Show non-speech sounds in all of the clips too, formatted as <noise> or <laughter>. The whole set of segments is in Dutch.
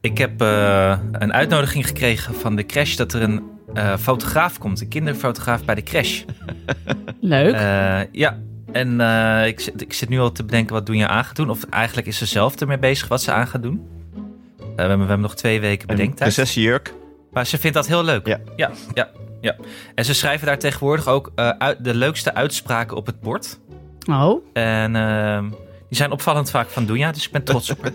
Ik heb eh, een uitnodiging gekregen van de crash dat er een eh, fotograaf komt. Een kinderfotograaf bij de crash. Leuk. Eh, ja, en eh, ik, zit, ik zit nu al te bedenken wat Doenja aan gaat doen. Of eigenlijk is ze zelf ermee bezig wat ze aan gaat doen. Eh, we, hebben, we hebben nog twee weken Een bedenktijd. prinsessenjurk. Maar ze vindt dat heel leuk. Ja. ja, ja. ja. En ze schrijven daar tegenwoordig ook eh, uit, de leukste uitspraken op het bord. oh, En ehm, die zijn opvallend vaak van Doenja, dus ik ben trots op haar.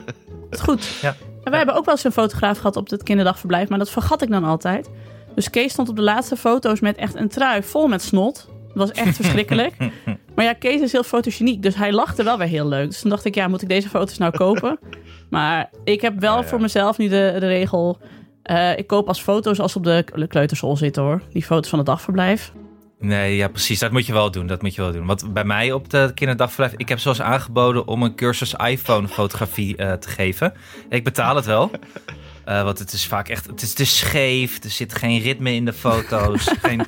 dat is goed. eh, Ja. En wij hebben ook wel eens een fotograaf gehad op het kinderdagverblijf, maar dat vergat ik dan altijd. Dus Kees stond op de laatste foto's met echt een trui vol met snot. Dat was <laughs> echt verschrikkelijk. Maar ja, Kees is heel fotogeniek, dus hij lachte wel weer heel leuk. Dus toen dacht ik, ja, moet ik deze foto's nou <laughs> kopen? Maar ik heb wel voor mezelf nu de, de regel... eh, ik koop pas foto's als ze op de k- kleuterschool zitten, hoor. Die foto's van het dagverblijf. Nee, ja, precies. Dat moet je wel doen. Dat moet je wel doen. Want bij mij op de kinderdagverblijf, ik heb zelfs aangeboden om een cursus iPhone-fotografie eh, te geven. Ik betaal het wel. Eh, want het is vaak echt, het is, het is scheef. Er zit geen ritme in de foto's. geen,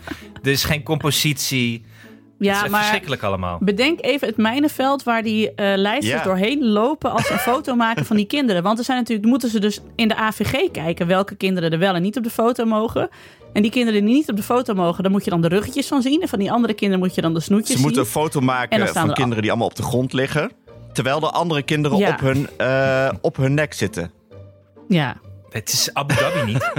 er is geen compositie. het is Ja, echt maar verschrikkelijk allemaal. Bedenk even het mijnenveld waar die eh, lijstjes Ja. doorheen lopen als ze <laughs> een foto maken van die kinderen. Want er zijn natuurlijk, moeten ze dus in de AVG kijken welke kinderen er wel en niet op de foto mogen. En die kinderen die niet op de foto mogen, daar moet je dan de ruggetjes van zien. En van die andere kinderen moet je dan de snoetjes Ze moeten een zien. foto En dan maken staan van er- kinderen die allemaal op de grond liggen. Terwijl de andere kinderen Ja. op, hun, eh, op hun nek zitten. Ja, Het is Abu Dhabi niet.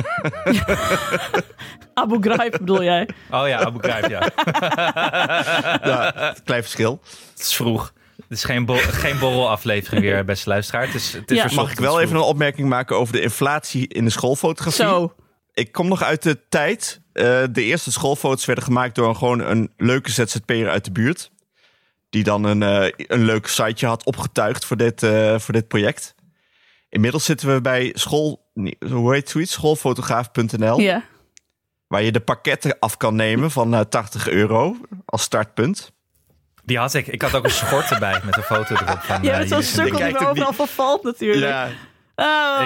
Abu Ghraib bedoel <laughs> jij. Oh ja, Abu Ghraib, ja. Ja, klein verschil. Het is vroeg. Het is geen, bor- geen borrelaflevering weer, beste luisteraar. Het is, het is Ja. er Mag ik wel ochtends even een opmerking maken over de inflatie in de schoolfotografie? Zo, Ik kom nog uit de tijd. eh, de eerste schoolfoto's werden gemaakt door een, gewoon een leuke ZZP'er uit de buurt. Die dan een, eh, een leuk siteje had opgetuigd voor dit, eh, voor dit project. Inmiddels zitten we bij school... nee, Hoe heet zoiets? Schoolfotograaf.nl. ja. Waar je de pakketten af kan nemen van eh, 80 euro als startpunt. vroeg. Die had ik. Ik had ook een schort erbij met een foto erop. Van, Ja, eh, met zo'n jullie- sukkel die kijkt er ook overal niet. van valt natuurlijk. Oh. Ik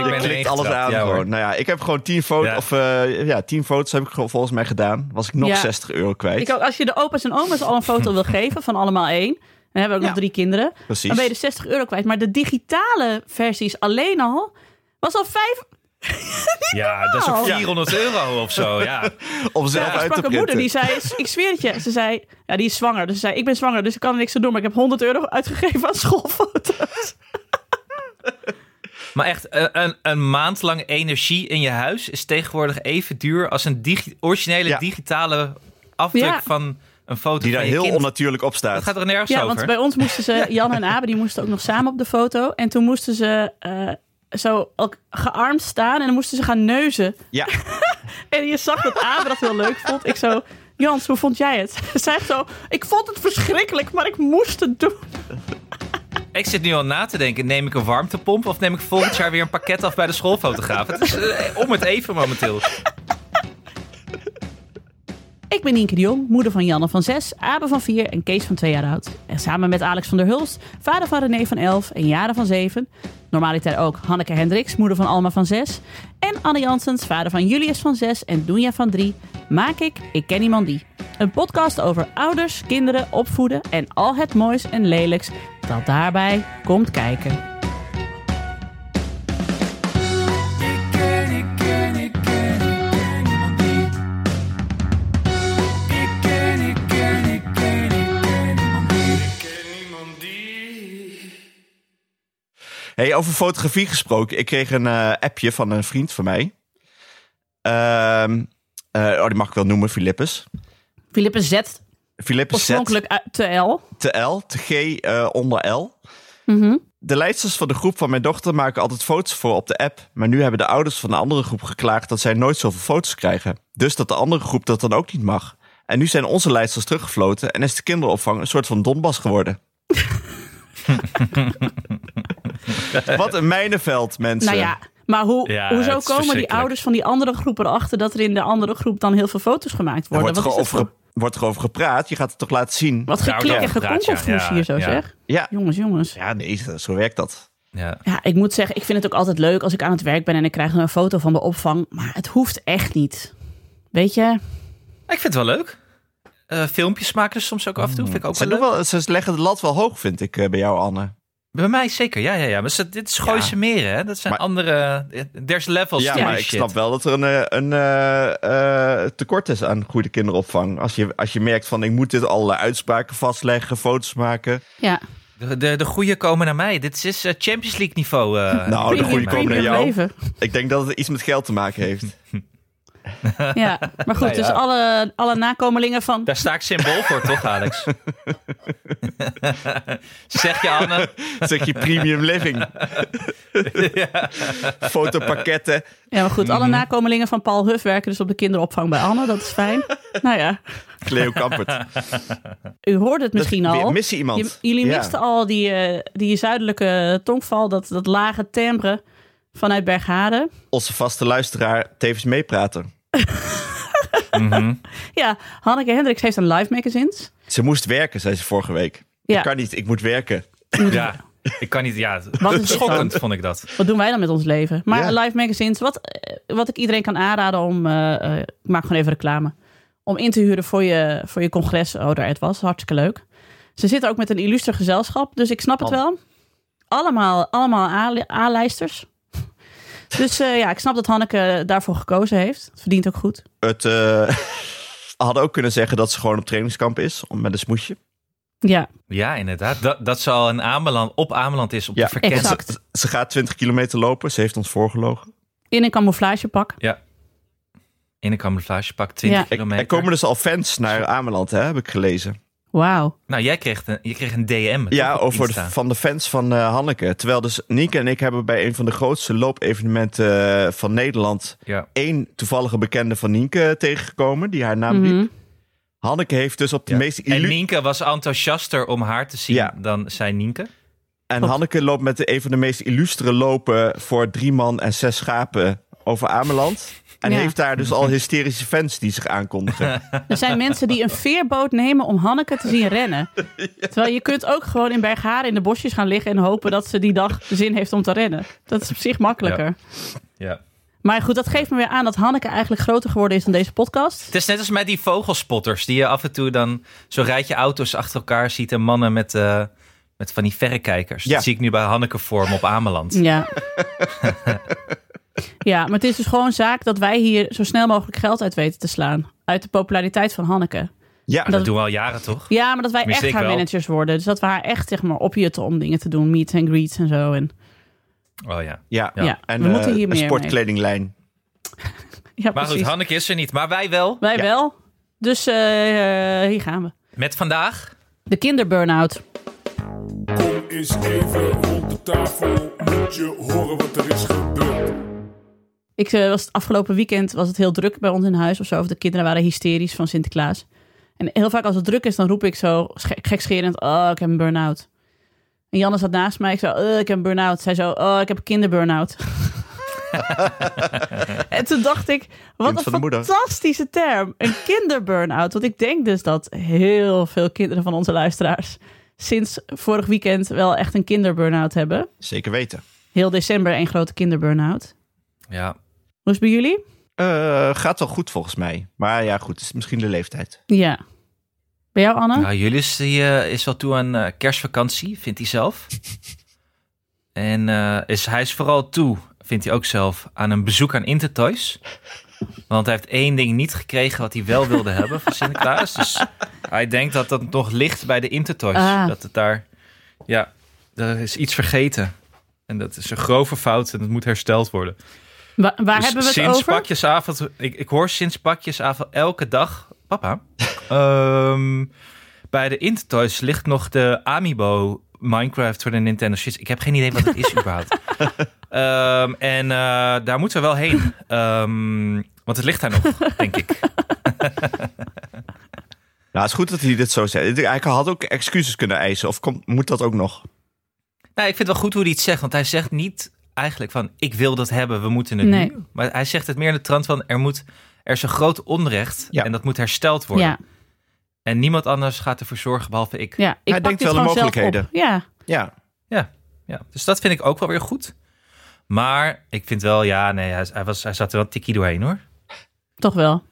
ben- Er klikt erin alles getrapt, aan ja, hoor. gewoon. Nou ja, ik heb gewoon 10 foto's, Ja. of, eh, ja, 10 foto's heb ik gewoon volgens mij gedaan. Was ik nog Ja. 60 euro kwijt. Ik ook, als je de opa's en oma's al een foto <laughs> wil geven van allemaal één. Dan hebben we ook nog drie kinderen. Precies. Dan ben je de 60 euro kwijt. Maar de digitale versies alleen al was al vijf... Ja, dat is ook Ja. 400 euro of zo, ja. Om zelf Ja, ik uit te sprak een moeder printen. die zei, ik zweer het je. Ze zei, ja die is zwanger. Dus ze zei, ik ben zwanger, dus ik kan er niks aan doen. Maar ik heb 100 euro uitgegeven aan schoolfoto's. <laughs> Maar echt, eh, een, een maand lang energie in je huis is tegenwoordig even duur als een digi- originele Ja. digitale afdruk Ja. van een foto Die van daar je heel kind. onnatuurlijk op Dat staat. gaat er nergens Ja, over. want bij ons moesten ze, Jan en Abe, die moesten ook nog samen op de foto. En toen moesten ze eh, zo ook gearmd staan en dan moesten ze gaan neuzen. Ja, En je zag dat Abe dat heel leuk vond. Ik zo, Jans, hoe vond jij het? <laughs> Zij zo, ik vond het verschrikkelijk, maar ik moest het doen. Ik zit nu al na te denken, neem ik een warmtepomp of neem ik volgend jaar weer een pakket af bij de schoolfotograaf? Het is eh, om het even momenteel. Ik ben Nienke de Jong, moeder van Janne van 6, Abe van 4 en Kees van 2 jaar oud. En samen met Alex van der Hulst, vader van René van 11 en Jaren van 7. Normaliter ook Hanneke Hendricks, moeder van Alma van 6. En Anne Jansens, vader van Julius van 6 en Doenja van 3. Maak ik Ik Ken Iemand Die. Een podcast over ouders, kinderen, opvoeden en al het moois en lelijks dat daarbij komt kijken. hey, over fotografie gesproken. Ik kreeg een eh, appje van een vriend van mij. Ehm, eh, oh, die mag ik wel noemen, Philippus. Philippe zet Philippus Z, oorspronkelijk uit te L. Mhm. te L, te G eh, onder L. De leidsters van de groep van mijn dochter maken altijd foto's voor op de app. Maar nu hebben de ouders van de andere groep geklaagd dat zij nooit zoveel foto's krijgen. Dus dat de andere groep dat dan ook niet mag. En nu zijn onze leidsters teruggefloten en is de kinderopvang een soort van Donbas <laughs> geworden. Wat een mijnenveld, mensen. Nou ja, maar hoe, Ja, hoezo het is komen die verschrikkelijk. ouders van die andere groep erachter dat er in de andere groep dan heel veel foto's gemaakt Er worden? wordt, Wat gewoon is dat over, voor- wordt er over gepraat. Je gaat het toch laten zien? Wat Ja, geklik en daarover gepraat, gekonkelvroes ja. hier zo Ja, ja. zeg. Ja. Jongens, jongens. ja, nee, zo werkt dat. Ja. Ja, ik moet zeggen, ik vind het ook altijd leuk als ik aan het werk ben en ik krijg een foto van de opvang. Maar het hoeft echt niet. Weet je? Ik vind het wel leuk. Eh, filmpjes maken ze soms ook af en toe, vind ik ook Ze, wel doen leuk. wel, ze leggen de lat wel hoog, vind ik, eh, bij jou, Anne. Bij mij zeker, ja, ja, ja. Maar ze- dit is Gooise Meren, hè? Dat zijn Maar- andere... eh, There's levels Ja, to maar this ik shit. snap wel dat er een, eh, een eh, eh, tekort is aan goede kinderopvang. Als je, als je merkt van ik moet dit allerlei uitspraken vastleggen, foto's maken. Ja, De, de, de goeie komen naar mij. Dit is eh, Champions League niveau. eh, <laughs> Nou, de volgens goeie mij. komen naar jou. leven. Ik denk dat het iets met geld te maken heeft. Ja, maar goed, Nou ja. dus alle, alle nakomelingen van... Daar sta ik symbool voor, toch, <laughs> Alex? zeg je, <laughs> Anne? Zeg je premium living. Fotopakketten. Ja, maar goed, alle Mhm. nakomelingen van Paul Huff werken dus op de kinderopvang bij Anne. Dat is fijn. nou ja, Cleo Kampert. u hoorde het misschien Dat- al. Missen iemand. Je- jullie Ja. misten al die, eh, die zuidelijke tongval, dat, dat lage timbre vanuit Bergharen. Onze vaste luisteraar tevens meepraten. Mhm. Ja, Hanneke Hendricks heeft een live magazines. Ze moest werken, zei ze vorige week. Ja. Ik kan niet, ik moet werken. Ja, ik kan niet... Ja, Wat is dit schokkend vond ik dat. Wat doen wij dan met ons leven? Maar Ja. live magazines, wat, eh, wat ik iedereen kan aanraden om... eh, eh, ik maak gewoon even reclame. Om in te huren voor je, voor je congres. Oh, daar het was. Hartstikke leuk. Ze zitten ook met een illustre gezelschap. Dus ik snap het Oh. wel. Allemaal, allemaal A- A-lijsters. <laughs> Dus eh, ja, ik snap dat Hanneke daarvoor gekozen heeft. Het verdient ook goed. Het, eh <laughs> hadden ook kunnen zeggen dat ze gewoon op trainingskamp is. Om, met een smoesje. Ja, Ja, inderdaad. Dat, dat ze al in Ameland, op Ameland is, op Ja, de verkenning. exact. Ze, ze gaat 20 kilometer lopen. Ze heeft ons voorgelogen. in een camouflagepak. In een camouflagepak, 20 Ja. Er, kilometer. er komen dus al fans naar Ameland, hè, heb ik gelezen. Wauw. Nou, jij kreeg een, je kreeg een DM. Ja, toch, op over de, Insta? van de fans van eh, Hanneke. Terwijl dus Nieke en ik hebben bij een van de grootste loopevenementen eh, van Nederland... Ja. één toevallige bekende van Nienke tegengekomen, die haar naam Mhm. riep. Hanneke heeft dus op de Ja. meest... En illu- Nienke was enthousiaster om haar te zien Ja. dan zij Nienke. En Hanneke loopt met de- een van de meest illustere lopen voor drie man en zes schapen over Ameland. En Ja. heeft daar dus <laughs> al hysterische fans die zich aankondigen. Er zijn mensen die een veerboot nemen om Hanneke te zien <laughs> rennen. Terwijl je kunt ook gewoon in Bergharen in de bosjes gaan liggen en hopen dat ze die dag zin heeft om te rennen. Dat is op zich makkelijker. Ja. Maar goed, dat geeft me weer aan dat Hanneke eigenlijk groter geworden is dan deze podcast. Het is net als met die vogelspotters, die je af en toe dan zo'n rijtje auto's achter elkaar ziet en mannen met, eh, met van die verrekijkers. Ja. Dat zie ik nu bij Hanneke vorm op Ameland. Ja. <laughs> ja, maar het is dus gewoon zaak dat wij hier zo snel mogelijk geld uit weten te slaan. Uit de populariteit van Hanneke. ja, Dat Dat- doen we al jaren, toch? Ja, maar dat wij Tenminste, echt ik haar wel. managers worden. Dus dat we haar echt zeg maar, opjutten om dingen te doen. Meets en greets en zo. En, Oh ja. ja. ja, En we eh, moeten hier een meer mee. sportkledinglijn. Ja, Maar goed, precies. Hanneke is er niet, maar wij wel. Wij Ja. wel. Dus eh, eh, hier gaan we. Met vandaag. De kinderburn-out. Kom eens even rond de tafel, moet je horen wat er is gebeurd. Ik eh, was het afgelopen weekend was het heel druk bij ons in huis of zo. Of de kinderen waren hysterisch van Sinterklaas. En heel vaak als het druk is, dan roep ik zo sche- gekscherend: Oh, ik heb een burn-out. En Janne zat naast mij. Ik zei: oh, Ik heb een burn-out. Zij zo: Oh, ik heb een kinderburn-out. <laughs> en toen dacht ik: Wat Kind van de een moeder. fantastische term. Een kinderburn-out. Want ik denk dus dat heel veel kinderen van onze luisteraars sinds vorig weekend wel echt een kinderburn-out hebben. Zeker weten. Heel december één grote kinderburn-out. Ja. Hoe is het bij jullie? Eh, gaat wel goed volgens mij. Maar ja, goed, het is misschien de leeftijd. Ja. Bij jou, Anne? Nou, Julius die, eh, is wel toe aan eh, kerstvakantie, vindt hij <laughs> zelf. en eh, is, hij is vooral toe, vindt hij ook zelf, aan een bezoek aan Intertoys. Want hij heeft één ding niet gekregen wat hij wel wilde hebben van Sinterklaas. Dus hij denkt dat dat nog ligt bij de Intertoys. Ah. Dat het daar, ja, er is iets vergeten. En dat is een grove fout en dat moet hersteld worden. Wa- waar Dus hebben we het sinds over? pakjesavond, ik, ik hoor sinds pakjesavond elke dag, papa, <laughs> ehm, bij de Intertoys ligt nog de Amiibo Minecraft voor de Nintendo Switch. Ik heb geen idee wat het <laughs> is überhaupt. Ehm, en eh, daar moeten we wel heen, Ehm, want het ligt daar nog, denk <laughs> ik. Nou, het is goed dat hij dit zo zei. Hij had ook excuses kunnen eisen. Of komt, moet dat ook nog? Nou, ik vind het wel goed hoe hij het zegt, want hij zegt niet eigenlijk van ik wil dat hebben, we moeten het Nee. nu. Maar hij zegt het meer in de trant van er moet, er is een groot onrecht Ja. en dat moet hersteld worden. Ja, En niemand anders gaat ervoor zorgen behalve ik. ja. ik Hij pak denkt dit wel aan gewoon zelf mogelijkheden. op. Ja, Ja, Ja, dus dat vind ik ook wel weer goed. Maar ik vind wel, ja, nee, hij, hij was, hij zat er wel tikkie doorheen hoor. toch wel.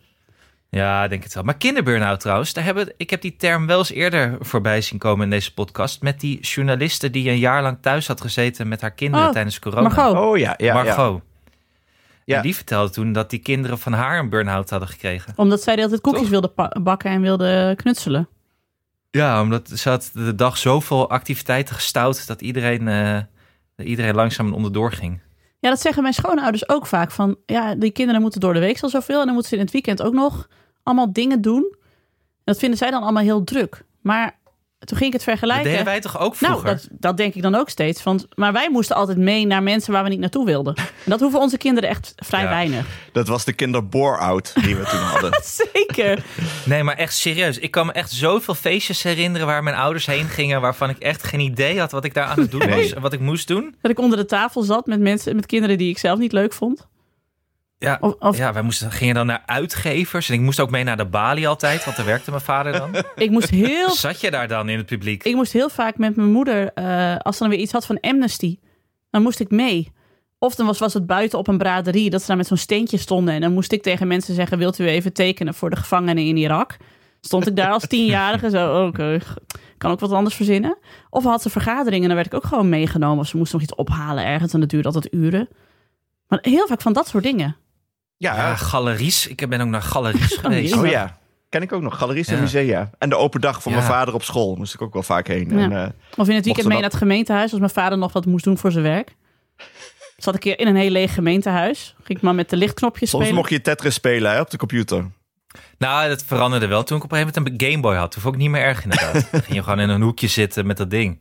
Ja, ik denk het wel. Maar kinderburn-out trouwens, daar hebben, ik heb die term wel eens eerder voorbij zien komen in deze podcast. Met die journaliste die een jaar lang thuis had gezeten met haar kinderen Oh, tijdens corona. Margot. Oh ja, ja, ja. Margot. Ja. En die vertelde toen dat die kinderen van haar een burn-out hadden gekregen. Omdat zij de hele tijd koekjes Toch? wilde pa- bakken en wilde knutselen. Ja, omdat ze had de dag zoveel activiteiten gestout dat iedereen, eh, dat iedereen langzaam onderdoor ging. Ja, dat zeggen mijn schoonouders ook vaak. Van ja, die kinderen moeten door de week al zoveel. En dan moeten ze in het weekend ook nog allemaal dingen doen. En dat vinden zij dan allemaal heel druk. Maar toen ging ik het Dat vergelijken. deden wij toch ook nou, vroeger? dat, dat denk ik dan ook steeds. Want, maar wij moesten altijd mee naar mensen waar we niet naartoe wilden. En dat hoeven onze kinderen echt vrij Ja. <laughs> weinig. Dat was de kinderboor-out die we toen hadden. Zeker. Nee, maar echt serieus. Ik kan me echt zoveel feestjes herinneren waar mijn ouders heen gingen. Waarvan ik echt geen idee had wat ik daar aan het doen Nee. was. En wat ik moest doen. Dat ik onder de tafel zat met mensen, met kinderen die ik zelf niet leuk vond. Ja, Of- of- ja wij moesten, gingen dan naar uitgevers. En ik moest ook mee naar de balie altijd, want daar werkte mijn vader dan. Ik moest heel Zat je daar dan in het publiek? ik moest heel vaak met mijn moeder, eh, als ze dan weer iets had van Amnesty, dan moest ik mee. Of dan was, was het buiten op een braderie, dat ze daar met zo'n steentje stonden. En dan moest ik tegen mensen zeggen, wilt u even tekenen voor de gevangenen in Irak? Stond ik daar als <laughs> tienjarige zo, "Oh, oké, g- kan ook wat anders verzinnen. Of had ze vergaderingen en dan werd ik ook gewoon meegenomen. Of ze moesten nog iets ophalen ergens en dat duurde altijd uren. Maar heel vaak van dat soort dingen. Ja, <laughs> Ja, galeries. Ik ben ook naar galeries Galeries. geweest. oh ja. Ken ik ook nog. Galeries en Ja. musea. En de open dag van Ja. mijn vader op school moest ik ook wel vaak heen. Ja. En, eh, Of in het weekend ze mee dat- naar het gemeentehuis als mijn vader nog wat moest doen voor zijn werk. Zat ik hier in een heel leeg gemeentehuis. Ging ik maar met de lichtknopjes soms spelen. mocht je Tetris spelen hè, op de computer. Nou, dat veranderde wel toen ik op een gegeven moment een Game Boy had. Toen vond ik het niet meer erg inderdaad. Dan ging je gewoon in een hoekje zitten met dat ding.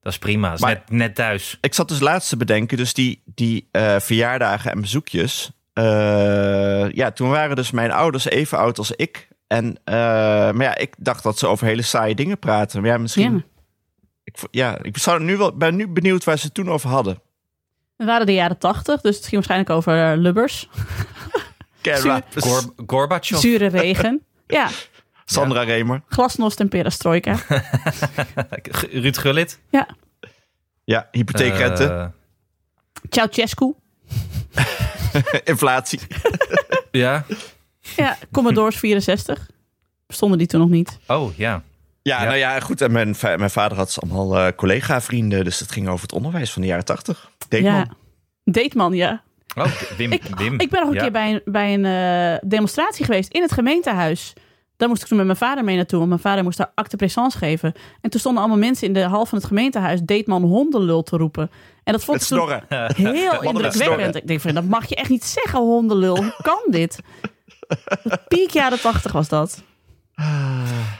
Dat is prima. Dat is Maar- net, net thuis. Ik zat dus laatst te bedenken, dus die, die eh, verjaardagen en bezoekjes. eh, ja, toen waren dus mijn ouders even oud als ik. En, eh, maar ja, ik dacht dat ze over hele saaie dingen praten. Maar ja, misschien... Ja. Ik, vo- ja, ik zou nu wel, ben nu benieuwd waar ze het toen over hadden. Het waren de jaren tachtig, dus het ging waarschijnlijk over lubbers, Kerapes, Gor Gorbachev. zure <laughs> regen. Ja, Sandra Remer. glasnost en perestrojka. G- Ruud Gullit. Ja, Ja, hypotheekrente, Eh, Ceausescu. Eh. <laughs> inflatie. ja. Ja, Commodores 64. Bestonden die toen nog niet. Oh, ja. Ja, Ja. nou ja, goed. En mijn, va- mijn vader had allemaal eh, collega-vrienden. Dus het ging over het onderwijs van de jaren tachtig. Ja. Ja. Deetman, ja. Oh, Wim. Ik, Wim. ik ben nog een Ja. keer bij een, bij een eh, demonstratie geweest in het gemeentehuis. Daar moest ik toen met mijn vader mee naartoe. Want mijn vader moest daar acte présence geven. En toen stonden allemaal mensen in de hal van het gemeentehuis Deetman hondenlul te roepen. En dat vond Het ik toen snorren. <laughs> heel met indrukwekkend. snorren. Ik denk van, dat mag je echt niet zeggen, hondenlul. Hoe kan <laughs> dit? Piek jaren tachtig was dat.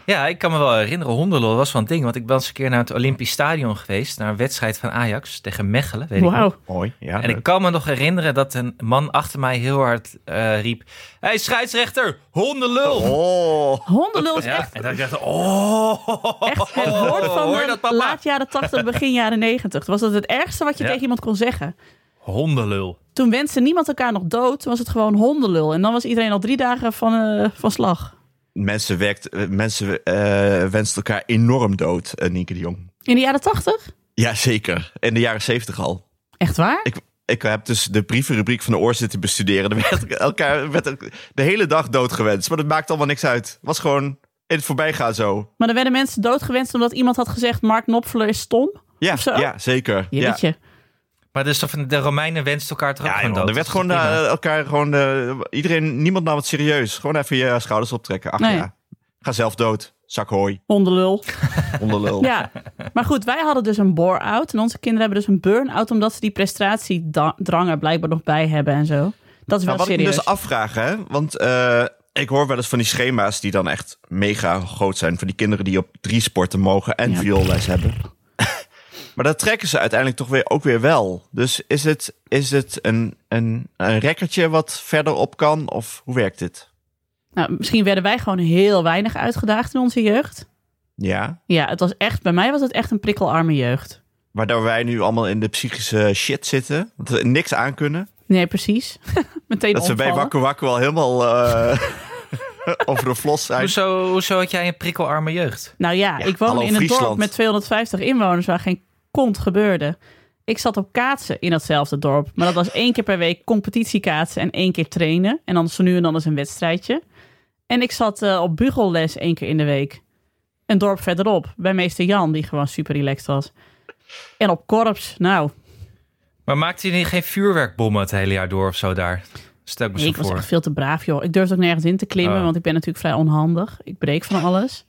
Ja, ik kan me wel herinneren, hondenlol was wel een ding. Want ik ben eens een keer naar het Olympisch Stadion geweest. Naar een wedstrijd van Ajax tegen Mechelen, weet ik nog. Wauw. Mooi, ja. En ik kan me nog herinneren dat een man achter mij heel hard eh, riep... Hé, hey, scheidsrechter, hondenlul! Oh, Hondenlul is Ja, echt, en dat ik dacht, oh, echt het woord van hoor de dat papa? laat jaren tachtig, begin jaren negentig. Was dat het ergste wat je Ja. tegen iemand kon zeggen? hondenlul. Toen wenste niemand elkaar nog dood. Toen was het gewoon hondenlul. En dan was iedereen al drie dagen van, eh, van slag. mensen, werkt, eh, mensen eh wensen elkaar enorm dood, eh, Nienke de Jong. In de jaren tachtig? Jazeker. In de jaren zeventig al. Echt waar? Ik, ik heb dus de brievenrubriek van de oor zitten bestuderen. <laughs> Er werd elkaar werd elk- de hele dag doodgewenst. Maar dat maakt allemaal niks uit. Was gewoon in het voorbijgaan zo. Maar dan werden mensen doodgewenst omdat iemand had gezegd... Mark Knopfler is stom. Ja, Of zo? ja zeker. Ja. Jeetje. Maar dus toch van de Romeinen wensten elkaar toch ook Ja, gewoon joh, dood? er werd Dat is gewoon toch prima? eh, elkaar gewoon. eh, iedereen, niemand nam het serieus. Gewoon even je schouders optrekken. Ach Nee. ja, ga zelf dood. Zak hooi, <laughs> Hondenlul. <laughs> onderlul. Ja, maar goed, wij hadden dus een bore-out. En onze kinderen hebben dus een burn-out omdat ze die prestatiedrang er blijkbaar nog bij hebben en zo. Dat is wel Maar wat serieus. ik me dus afvraag, hè, want eh, ik hoor wel eens van die schema's die dan echt mega groot zijn. Van die kinderen die op drie sporten mogen en Ja. vioolles hebben. <laughs> maar dat trekken ze uiteindelijk toch weer, ook weer wel. Dus is het, is het een, een, een rekkertje wat verder op kan? Of hoe werkt dit? nou, misschien werden wij gewoon heel weinig uitgedaagd in onze jeugd. Ja, Ja, het was echt, bij mij was het echt een prikkelarme jeugd. waardoor wij nu allemaal in de psychische shit zitten. Dat we niks aan kunnen. Nee, precies. <laughs> Meteen Dat ze bij omvallen. Wakker Wakker wel helemaal eh, <laughs> over de vlos zijn. Hoezo, hoezo had jij een prikkelarme jeugd? Nou ja, Ja, ik woon hallo in een dorp Friesland. met 250 inwoners waar geen kont gebeurde. Ik zat op kaatsen in datzelfde dorp. Maar dat was één keer per week competitiekaatsen en één keer trainen. En dan zo nu en dan eens een wedstrijdje. En ik zat eh, op bugelles één keer in de week. Een dorp verderop, bij meester Jan, die gewoon super relaxed was. En op korps, nou, Maar maakt hij niet geen vuurwerkbommen het hele jaar door of zo daar? Stel ik me nee, zo ik was voor. echt veel te braaf, joh. Ik durfde ook nergens in te klimmen, Oh. want ik ben natuurlijk vrij onhandig. Ik breek van alles.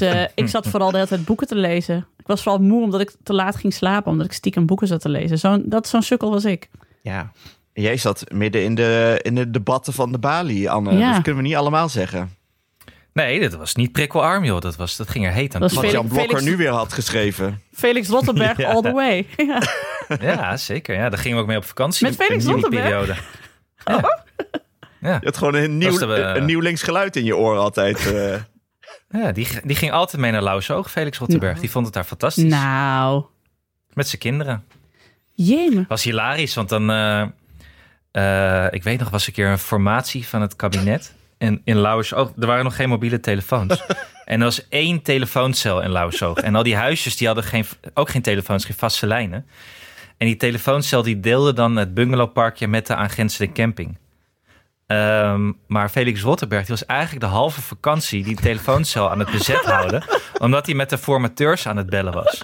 <laughs> eh, ik zat vooral de hele tijd boeken te lezen. Ik was vooral moe omdat ik te laat ging slapen, omdat ik stiekem boeken zat te lezen. Zo'n, dat, zo'n sukkel was ik. Ja. En Jij zat midden in de, in de debatten van de Bali, Anne. Ja. Dat kunnen we niet allemaal zeggen. Nee, dat was niet prikkelarm, joh. Dat, was, dat ging er heet aan Dat is toe. Wat Felix- Jan Blokker Felix- nu weer had geschreven. Felix <laughs> Rottenberg all the way. <laughs> Ja. Ja, zeker. Ja, daar gingen we ook mee op vakantie. Met Felix in die Rottenberg? periode. <laughs> Oh. Ja. Ja. Je had gewoon een nieuw, Dat is de, eh, een nieuw links geluid in je oor <laughs> altijd. eh. Ja, die, die ging altijd mee naar Lauwsoog, Felix Rottenberg. Die vond het daar fantastisch. Nou, Met zijn kinderen. jemig. was hilarisch, want dan... eh, eh, ik weet nog, was een keer een formatie van het kabinet. En in Lauwersoog, er waren nog geen mobiele telefoons. en er was één telefooncel in Lauwersoog. En al die huisjes, die hadden geen, ook geen telefoons, geen vaste lijnen. En die telefooncel, die deelde dan het bungalowparkje met de aangrenzende camping. Ehm, maar Felix Rotterberg, die was eigenlijk de halve vakantie die telefooncel aan het bezet houden. omdat hij met de formateurs aan het bellen was.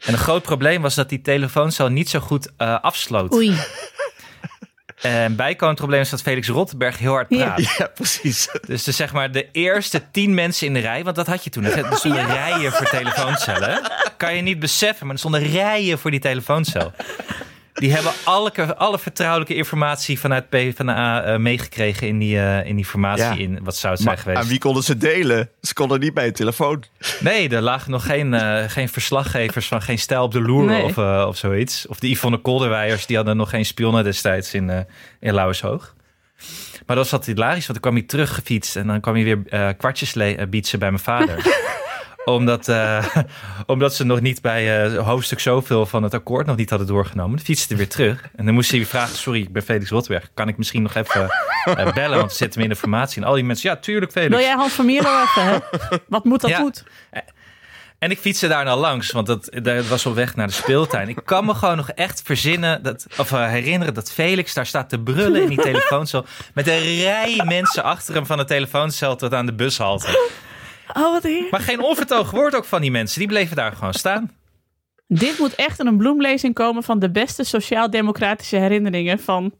En een groot probleem was dat die telefooncel niet zo goed eh, afsloot. Oei. En Ehm, bijkomend probleem is dat Felix Rottenberg heel hard praat. ja, precies. Dus de, zeg maar de eerste tien mensen in de rij, want dat had je toen. nog, hè? Er stonden rijen voor telefooncellen. hè? Kan je niet beseffen, maar er stonden rijen voor die telefooncel. Die hebben alle, alle vertrouwelijke informatie vanuit PvdA eh meegekregen in die, eh, in die formatie. Ja. In, wat zou het zijn Maar geweest? aan wie konden ze delen? Ze konden niet bij je telefoon. Nee, er lagen nog geen, eh, geen verslaggevers van geen stijl op de loer Nee. of, eh, of zoiets. Of de Yvonne Kolderweijers, die hadden nog geen spionnen destijds in, eh in Lauwershoog. Maar dat was wat hilarisch, want dan kwam hij terug gefietst en dan kwam hij weer eh, kwartjes le- eh, bietsen bij mijn vader. omdat, eh, <laughs> omdat ze nog niet bij eh hoofdstuk zoveel van het akkoord nog niet hadden doorgenomen. Dan fietste hij weer terug en dan moest hij weer vragen, sorry, ik ben Felix Rotberg. Kan ik misschien nog even eh, bellen, want ze zitten hem in de formatie. En al die mensen, ja, tuurlijk Felix. Wil jij Hans van Mierlo even, hè? Wat moet dat Ja. goed? En ik fietste daar nou langs, want dat, dat was op weg naar de speeltuin. Ik kan me gewoon nog echt verzinnen, dat, of eh, herinneren dat Felix daar staat te brullen in die telefooncel. Met een rij mensen achter hem van de telefooncel tot aan de bushalte. Oh, wat heerlijk. Maar geen onvertoog woord ook van die mensen. Die bleven daar gewoon staan. Dit moet echt in een bloemlezing komen van de beste sociaal-democratische herinneringen van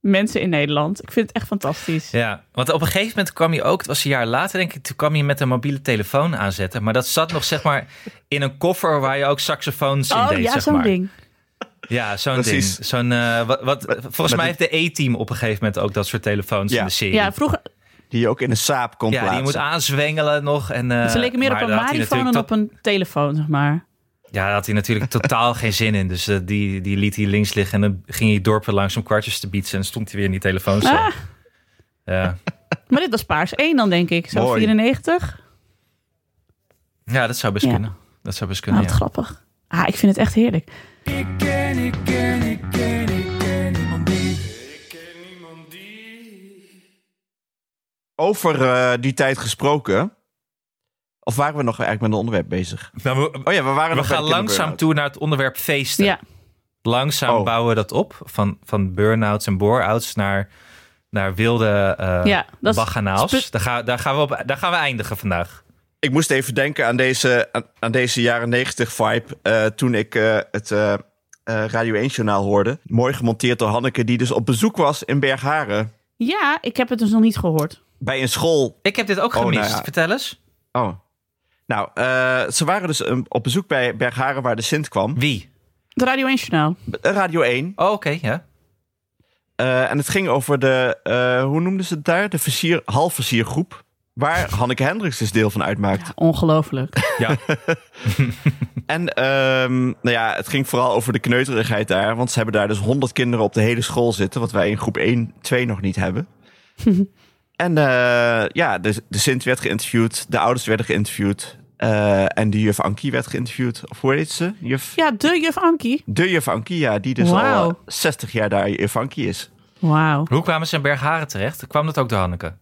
mensen in Nederland. Ik vind het echt fantastisch. Ja, want op een gegeven moment kwam hij ook, het was een jaar later denk ik, toen kwam hij met een mobiele telefoon aanzetten. Maar dat zat nog zeg maar in een koffer waar je ook saxofoons in oh deed, ja, zeg zo'n maar. ding. Ja, zo'n ding. Precies. Zo'n, eh, wat, wat, volgens met mij heeft de E-team op een gegeven moment ook dat soort telefoons Ja. in de serie. Ja, vroeger. Die je ook in een saap kon Ja, die plaatsen. je moet aanzwengelen nog. En, eh, Ze leken meer op maar een daar had hij marifoon en natuurlijk op een telefoon, zeg maar. tot- Ja, daar had hij <laughs> natuurlijk totaal geen zin in. Dus eh, die, die liet hij links liggen. En dan ging hij dorpen langs om kwartjes te bieden. En dan stond hij weer in die telefoon. Ah, Ja. maar dit was paars 1 dan, denk ik. Zo Mooi. 94. ja, dat zou best Ja. kunnen. Dat zou best Nou, kunnen, wat ja. grappig. Ah, ik vind het echt heerlijk. Ik ken, ik ken, ik ken, ik ken niemand die. Ik ken niemand die. Over eh, die tijd gesproken. Of waren we nog eigenlijk met een onderwerp bezig? Nou, we, Oh ja, we waren we nog bij gaan de langzaam kinderburn-out. toe naar het onderwerp feesten. Ja, Langzaam Oh. bouwen we dat op. Van, van burn-outs en bore-outs naar, naar wilde eh Ja, dat is- baganaals. spe- Daar, ga- daar, gaan we op, daar gaan we eindigen vandaag. Ik moest even denken aan deze, aan, aan deze jaren 90 vibe. eh, toen ik eh, het eh, eh, Radio 1 journaal hoorde. Mooi gemonteerd door Hanneke, die dus op bezoek was in Bergharen. ja ik heb het dus nog niet gehoord. Bij een school. Ik heb dit ook Oh, nou gemist. ja. Vertel eens. Oh. Nou, eh, ze waren dus eh, op bezoek bij Bergharen waar de Sint kwam. Wie? De Radio 1 Journaal. Eh, Radio 1. Oh, oké, ja. Eh, en het ging over de, eh, hoe noemden ze het daar? De versier, halfversiergroep. Waar Hanneke Hendricks dus deel van uitmaakt. <laughs> Ongelooflijk. Ja, En ehm, nou ja, het ging vooral over de kneuterigheid daar. Want ze hebben daar dus 100 kinderen op de hele school zitten. Wat wij in groep 1, 2 nog niet <laughs> hebben. en eh, ja, de, de Sint werd geïnterviewd. De ouders werden geïnterviewd. eh, en de juf Ankie werd geïnterviewd. Of hoe heet ze? Juf, Ja, de juf Ankie. De juf Ankie, ja. Die dus al Wauw. eh, 60 jaar daar juf Ankie is. Wauw. Hoe kwamen ze in Bergharen terecht? Kwam dat ook door Hanneke?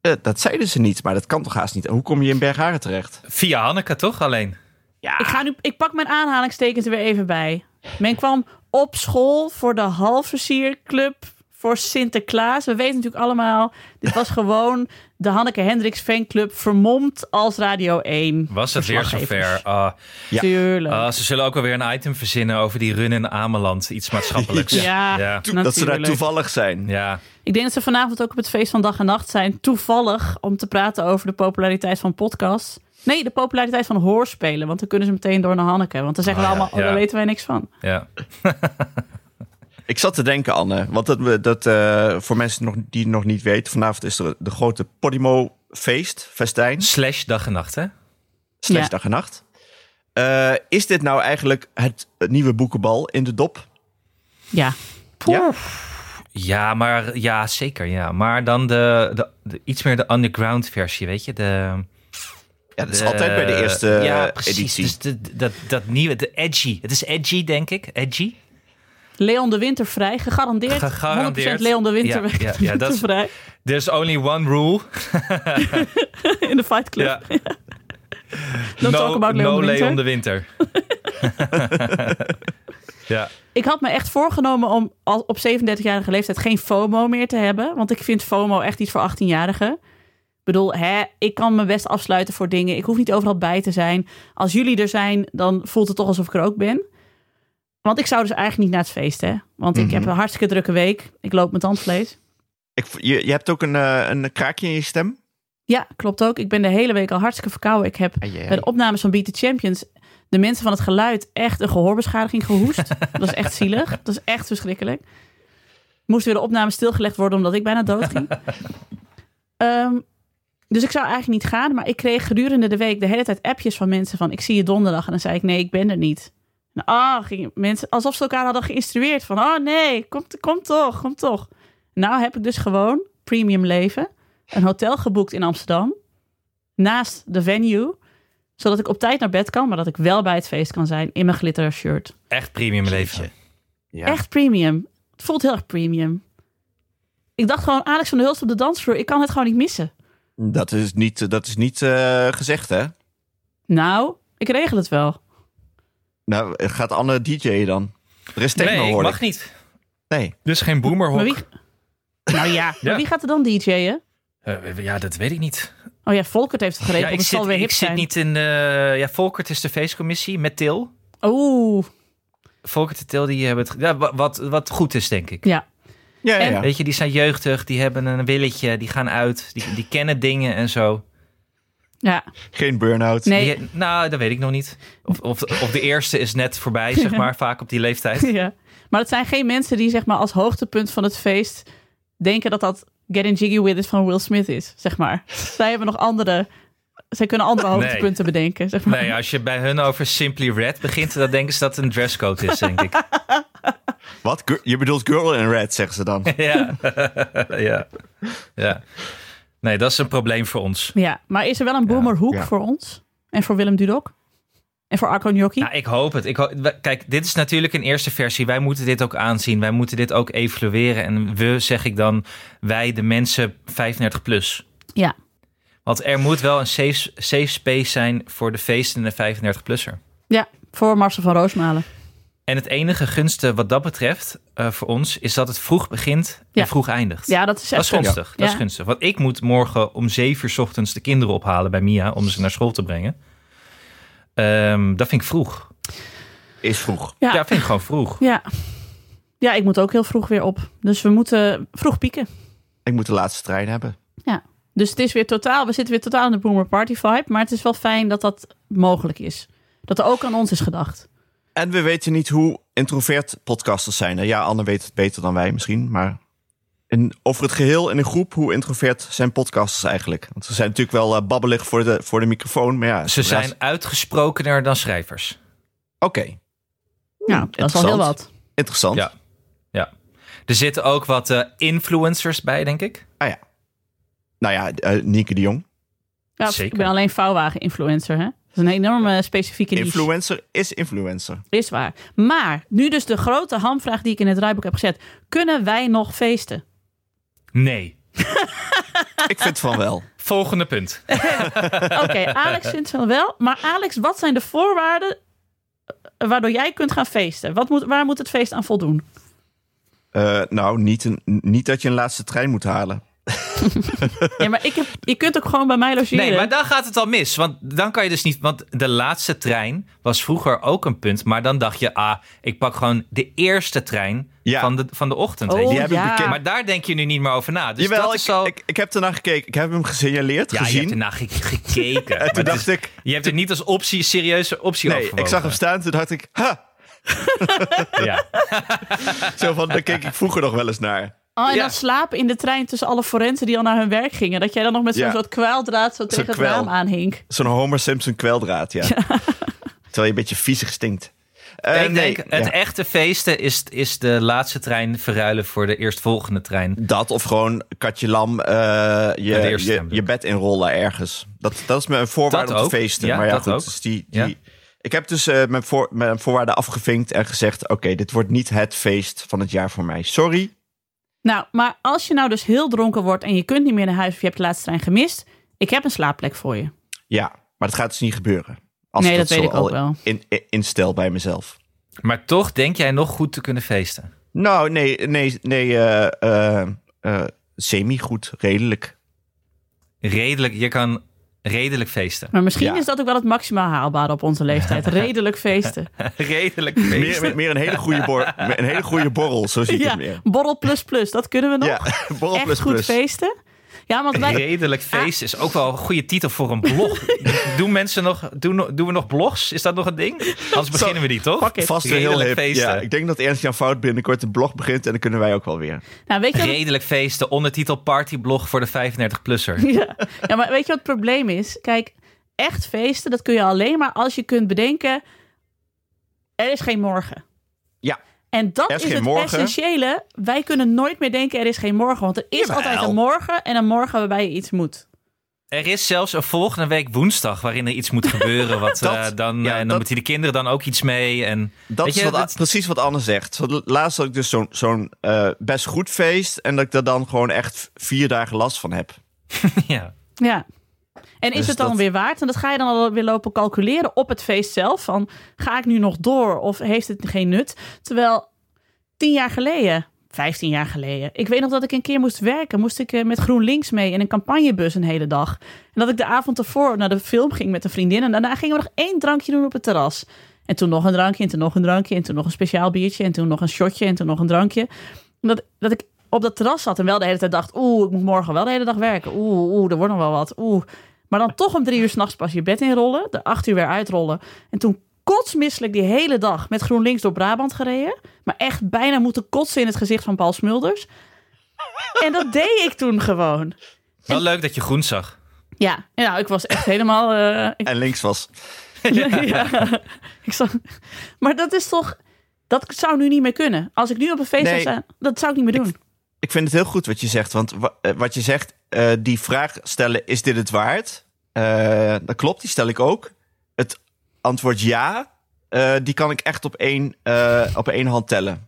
Eh, dat zeiden ze niet, maar dat kan toch haast niet. Hoe kom je in Bergharen terecht? Via Hanneke toch alleen? Ja, Ik, ga nu, ik pak mijn aanhalingstekens er weer even bij. Men kwam op school voor de halfversierclub voor Sinterklaas. We weten natuurlijk allemaal, <laughs> dit was gewoon de Hanneke Hendricks fanclub vermomd als Radio 1. Was het weer zover? verslaggevers. Ah, Ja. Tuurlijk. ah, ze zullen ook alweer een item verzinnen over die run in Ameland. Iets maatschappelijks. ja, ja. Dat ze daar natuurlijk. toevallig zijn. Ja. Ik denk dat ze vanavond ook op het feest van dag en nacht zijn. Toevallig om te praten over de populariteit van podcasts. Nee, de populariteit van hoorspelen. Want dan kunnen ze meteen door naar Hanneke. Want dan zeggen Ah, we ja, allemaal, oh, ja. daar weten wij niks van. ja. Ik zat te denken, Anne, want dat, dat, eh, voor mensen nog, die het nog niet weten, vanavond is er de grote Podimo feest, festijn, Slash dag en nacht, hè? slechts Ja. dag en nacht. Eh, is dit nou eigenlijk het nieuwe boekenbal in de dop? Ja. Ja? Ja, maar ja, zeker. Ja. Maar dan de, de, de- iets meer de underground versie, weet je? De, Ja, dat is de- altijd bij de eerste ja, eh, precies. editie. Dus de- dat, dat nieuwe, de edgy. Het is edgy, denk ik. Edgy. Leon de Winter vrij, gegarandeerd. Gegarandeerd. 100% Leon de Winter Ja, <laughs> ja, ja, dat is- vrij There's only one rule. in de Fight Club. Ja. <laughs> Don't talk about Leon no de Winter. Leon de Winter. <laughs> ja. Ik had me echt voorgenomen om al op 37-jarige leeftijd geen FOMO meer te hebben. Want ik vind FOMO echt iets voor 18-jarigen. Ik bedoel, hè, ik kan me best afsluiten voor dingen. Ik hoef niet overal bij te zijn. Als jullie er zijn, dan voelt het toch alsof ik er ook ben. Want ik zou dus eigenlijk niet naar het feest, hè. Want ik heb een hartstikke drukke week. Ik loop met tandvlees. Ik, v- je, je hebt ook een, eh, een kraakje in je stem. Ja, klopt ook. Ik ben de hele week al hartstikke verkouden. Ik heb Ah, bij de opnames van Beat the Champions de mensen van het geluid echt een gehoorbeschadiging gehoest. dat is echt zielig. Dat is echt verschrikkelijk. Moest weer de opname stilgelegd worden omdat ik bijna dood ging. Ehm, dus ik zou eigenlijk niet gaan, maar ik kreeg gedurende de week de hele tijd appjes van mensen van ik zie je donderdag en dan zei ik nee, ik ben er niet. En, ah, gingen mensen alsof ze elkaar hadden geïnstrueerd van oh nee, kom, kom toch, kom toch. Nou heb ik dus gewoon premium leven, een hotel geboekt in Amsterdam naast de venue zodat ik op tijd naar bed kan, maar dat ik wel bij het feest kan zijn in mijn glitter shirt. Echt premium leven. Ja. Echt premium. Het voelt heel erg premium. Ik dacht gewoon, Alex van der Hulst op de dansvloer, ik kan het gewoon niet missen. Dat is niet, dat is niet eh, gezegd, hè? Nou, ik regel het wel. Nou, gaat Anne DJ'en dan? Er is techno, nee, ik hoor mag niet. Nee. Dus geen boomerhok. Maar wie... Nou <laughs> ja, maar wie gaat er dan DJ'en? Eh, ja, dat weet ik niet. Oh ja, Volkert heeft het Ja, geregeld, ik het zit, zal weer hip ik zit zijn. niet in de... Ja, Volkert is de feestcommissie met Til. Oeh, Volkert en Til, die hebben het... ge- Ja, wa- wat, wat goed is, denk ik. ja. Ja, ja, En- ja. Weet je, die zijn jeugdig, die hebben een willetje, die gaan uit, die, die kennen dingen en zo. ja. <laughs> Geen burn-out. Nee. Die- nou, dat weet ik nog niet. Of, of, of de eerste is net <laughs> voorbij, zeg maar, vaak op die leeftijd. ja. Maar het zijn geen mensen die zeg maar als hoogtepunt van het feest denken dat dat Getting Jiggy With It van Will Smith is, zeg maar. Zij hebben nog andere... Zij kunnen andere hoogtepunten bedenken, zeg maar. Nee, als je bij hun over Simply Red begint, dan denken ze dat het een dresscode is, denk ik. Wat? Gu- Je bedoelt girl in red, zeggen ze dan. Ja. <laughs> ja. ja. Nee, dat is een probleem voor ons. Ja, maar is er wel een boomerhoek ja. voor ons? En voor Willem Dudok? En voor Arco Gnocchi? Nou, ik hoop het. Ik ho- we- Kijk, dit is natuurlijk een eerste versie. Wij moeten dit ook aanzien. Wij moeten dit ook evalueren. En we, zeg ik dan, wij de mensen 35 plus. ja. Want er moet wel een safe, safe space zijn voor de feestende 35-plusser. ja, voor Marcel van Roosmalen. En het enige gunste wat dat betreft eh, voor ons is dat het vroeg begint en Ja. vroeg eindigt. Ja, dat is Dat echt is een- gunstig. Dat is Ja. gunstig. Want ik moet morgen om zeven uur 's ochtends de kinderen ophalen bij Mia om ze naar school te brengen. Ehm, dat vind ik vroeg. Is vroeg. Ja, Ja. vind ik gewoon vroeg. Ja. ja, ik moet ook heel vroeg weer op. Dus we moeten vroeg pieken. Ik moet de laatste trein hebben. Ja. Dus het is weer totaal, we zitten weer totaal in de boomer party vibe. Maar het is wel fijn dat dat mogelijk is. Dat er ook aan ons is gedacht. En we weten niet hoe introvert podcasters zijn. Ja, Anne weet het beter dan wij misschien, maar... In, over het geheel in een groep, hoe introvert zijn podcasters eigenlijk? Want ze zijn natuurlijk wel eh, babbelig voor de, voor de microfoon, maar ja... Ze de zijn rest- uitgesprokener dan schrijvers. Oké, Nou, dat is al heel interessant. wat. interessant. Ja. ja. Er zitten ook wat eh, influencers bij, denk ik. Ah ja. Nou ja, eh, Nieke de Jong. Ja, Zeker. Ik ben alleen vouwwagen-influencer, hè? Dat is een enorme specifieke niche. Influencer is influencer. Is waar. Maar nu dus de grote hamvraag die ik in het draaiboek heb gezet. Kunnen wij nog feesten? Nee. Ik vind van wel. <laughs> Volgende <laughs> punt. Oké, Alex vindt van wel. Maar Alex, wat zijn de voorwaarden eh, waardoor jij kunt gaan feesten? Wat moet, waar moet het feest aan voldoen? Eh, nou, niet, een, niet dat je een laatste trein moet halen. Ja, maar ik heb, je kunt ook gewoon bij mij logeren. Nee, maar dan gaat het al mis. Want dan kan je dus niet. Want de laatste trein was vroeger ook een punt. Maar dan dacht je, ah, ik pak gewoon de eerste trein Ja. van, de, van de ochtend. Oh, weet je. die hebben ja. bekend- Maar daar denk je nu niet meer over na. Dus Jawel, dat ik, is al. ik, ik heb ernaar gekeken. Ik heb hem gesignaleerd, ja, je gezien. hebt ernaar ge- gekeken. <laughs> en Maar toen het dacht is- ik... Je hebt er niet als optie, serieuze optie Nee, overwogen. ik zag hem staan. Toen dacht ik... Ha! Ja. Zo van, daar keek ik vroeger nog wel eens naar. Oh, en Ja. dan slapen in de trein tussen alle forensen die al naar hun werk gingen. Dat jij dan nog met zo'n Ja. soort kwaaldraad zo tegen het kwel. raam aanhing. Zo'n Homer Simpson kweldraad, ja. Terwijl je een beetje viezig stinkt. <laughs> Eh, ik nee, denk, het e- ja. echte feesten is, is de laatste trein verruilen voor de eerstvolgende trein. Dat of gewoon katje lam eh, Ja, de je, eerste je, stemdruk. je bed inrollen ergens. Dat, dat is mijn voorwaarde Dat om te ook. feesten. Ja, maar ja, dat goed, ook. dus die, die, Ja. Ik heb dus eh, mijn, voor, mijn voorwaarden afgevinkt en gezegd... oké, dit wordt niet het feest van het jaar voor mij. Sorry. Nou, maar als je nou dus heel dronken wordt en je kunt niet meer naar huis of je hebt de laatste trein gemist. Ik heb een slaapplek voor je. Ja, maar dat gaat dus niet gebeuren. Als Nee, ik dat weet zo ik ook al wel. In, in- instel bij mezelf. Maar toch denk jij nog goed te kunnen feesten. Nou, nee, nee, nee eh, eh, eh, semi-goed, redelijk. Redelijk, je kan redelijk <laughs> feesten. Maar misschien Ja. is dat ook wel het maximaal haalbare op onze <laughs> leeftijd. Redelijk feesten. redelijk feesten. Meer, meer- meer een, hele goede bor- een hele goede borrel, zo zie ik ja, het meer. borrel plus plus. Dat kunnen we nog. Ja, <laughs> borrel Echt plus goed plus. feesten. Ja, want wij, Redelijk feest is ook wel een goede titel voor een blog. <laughs> doen mensen nog, doen, doen we nog blogs? Is dat nog een ding? Anders beginnen we die, toch? Fuck it. Vast weer heel Redelijk hip. feesten. Ja, ik denk dat Ernst Jan Fout binnenkort een blog begint en dan kunnen wij ook wel weer. nou, weet je wat het Redelijk feesten, ondertitel partyblog voor de 35-plusser. <laughs> Ja. ja, maar weet je wat het probleem is? Kijk, echt feesten, dat kun je alleen maar als je kunt bedenken... er is geen morgen. Ja. En dat Er is is, geen het morgen. essentiële. Wij kunnen nooit meer denken er is geen morgen. Want er is Jawel. altijd een morgen en een morgen waarbij je iets moet. Er is zelfs een volgende week woensdag waarin er iets moet <laughs> gebeuren. Wat, Dat- eh, dan, ja, eh, en dan dat- moeten de kinderen dan ook iets mee. En, Dat Weet is je, wat, dat- precies wat Anne zegt. Want Laatst had ik dus zo'n zo'n, eh, best goed feest en dat ik daar dan gewoon echt vier dagen last van heb. <laughs> ja. Ja. En is Dus het dan dat- weer waard? En dat ga je dan alweer lopen calculeren op het feest zelf. Van, ga ik nu nog door of heeft het geen nut? Terwijl tien jaar geleden, vijftien jaar geleden... Ik weet nog dat ik een keer moest werken. Moest ik eh, met GroenLinks mee in een campagnebus een hele dag. En dat ik de avond ervoor naar de film ging met een vriendin. En daarna gingen we nog één drankje doen op het terras. En toen nog een drankje, en toen nog een drankje... en toen nog een speciaal biertje, en toen nog een shotje... en toen nog een drankje. Dat, dat ik op dat terras zat en wel de hele tijd dacht... oeh, ik moet morgen wel de hele dag werken. Oeh, oeh, er wordt nog wel wat. Oeh. Maar dan toch om drie uur s'nachts pas je bed inrollen. De acht uur weer uitrollen. En toen kotsmisselijk die hele dag met GroenLinks door Brabant gereden. Maar echt bijna moeten kotsen in het gezicht van Paul Smulders. En dat deed ik toen gewoon. Wel leuk dat je groen zag. Ja, nou, ik was echt helemaal... eh, <laughs> ik, En links was. ja. <laughs> ik zag, maar dat is toch... Dat zou nu niet meer kunnen. Als ik nu op een feest zou Nee. staan, dat zou ik niet meer doen. Ik vind het heel goed wat je zegt. Want wa- eh, wat je zegt, eh, die vraag stellen: is dit het waard? Eh, dat klopt, die stel ik ook. Het antwoord ja, eh, die kan ik echt op één, eh, op één hand tellen.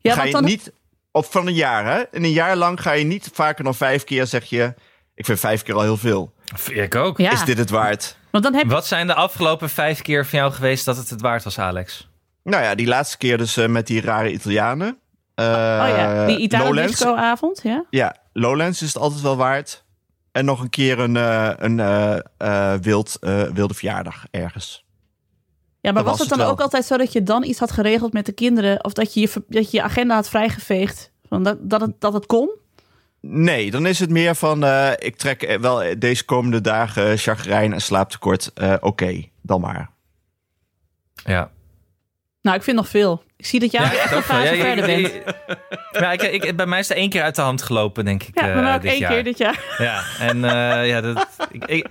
ja, ga want je dan, niet op van een jaar, hè? In een jaar lang ga je niet vaker dan vijf keer zeg je: ik vind vijf keer al heel veel. Ik ook. ja, Is dit het waard? want dan heb je Wat zijn de afgelopen vijf keer van jou geweest dat het het waard was, Alex? Nou ja, die laatste keer dus eh, met die rare Italianen. Eh, Oh ja, die Lowlands. Italo-disco-avond, ja. Ja, Lowlands is het altijd wel waard. En nog een keer een, eh, een eh, eh, wild, eh, wilde verjaardag ergens. Ja, maar Dat was was het het dan wel. ook altijd zo dat je dan iets had geregeld met de kinderen? Of dat je je, ver- dat je, je agenda had vrijgeveegd? Van dat, dat, het, dat het kon? Nee, dan is het meer van... eh, ik trek eh, wel eh, deze komende dagen eh, chagrijn en slaaptekort. Eh, Oké, dan maar. Ja. Nou, ik vind nog veel. Ik zie dat jij echt een fase verder bent. <laughs> Ja, ik, ik, bij mij is er één keer uit de hand gelopen, denk ik. Ja, eh, maar wel ook dit één jaar. keer dus- dit jaar. <laughs> Ja, en eh, ja, dat, ik, ik-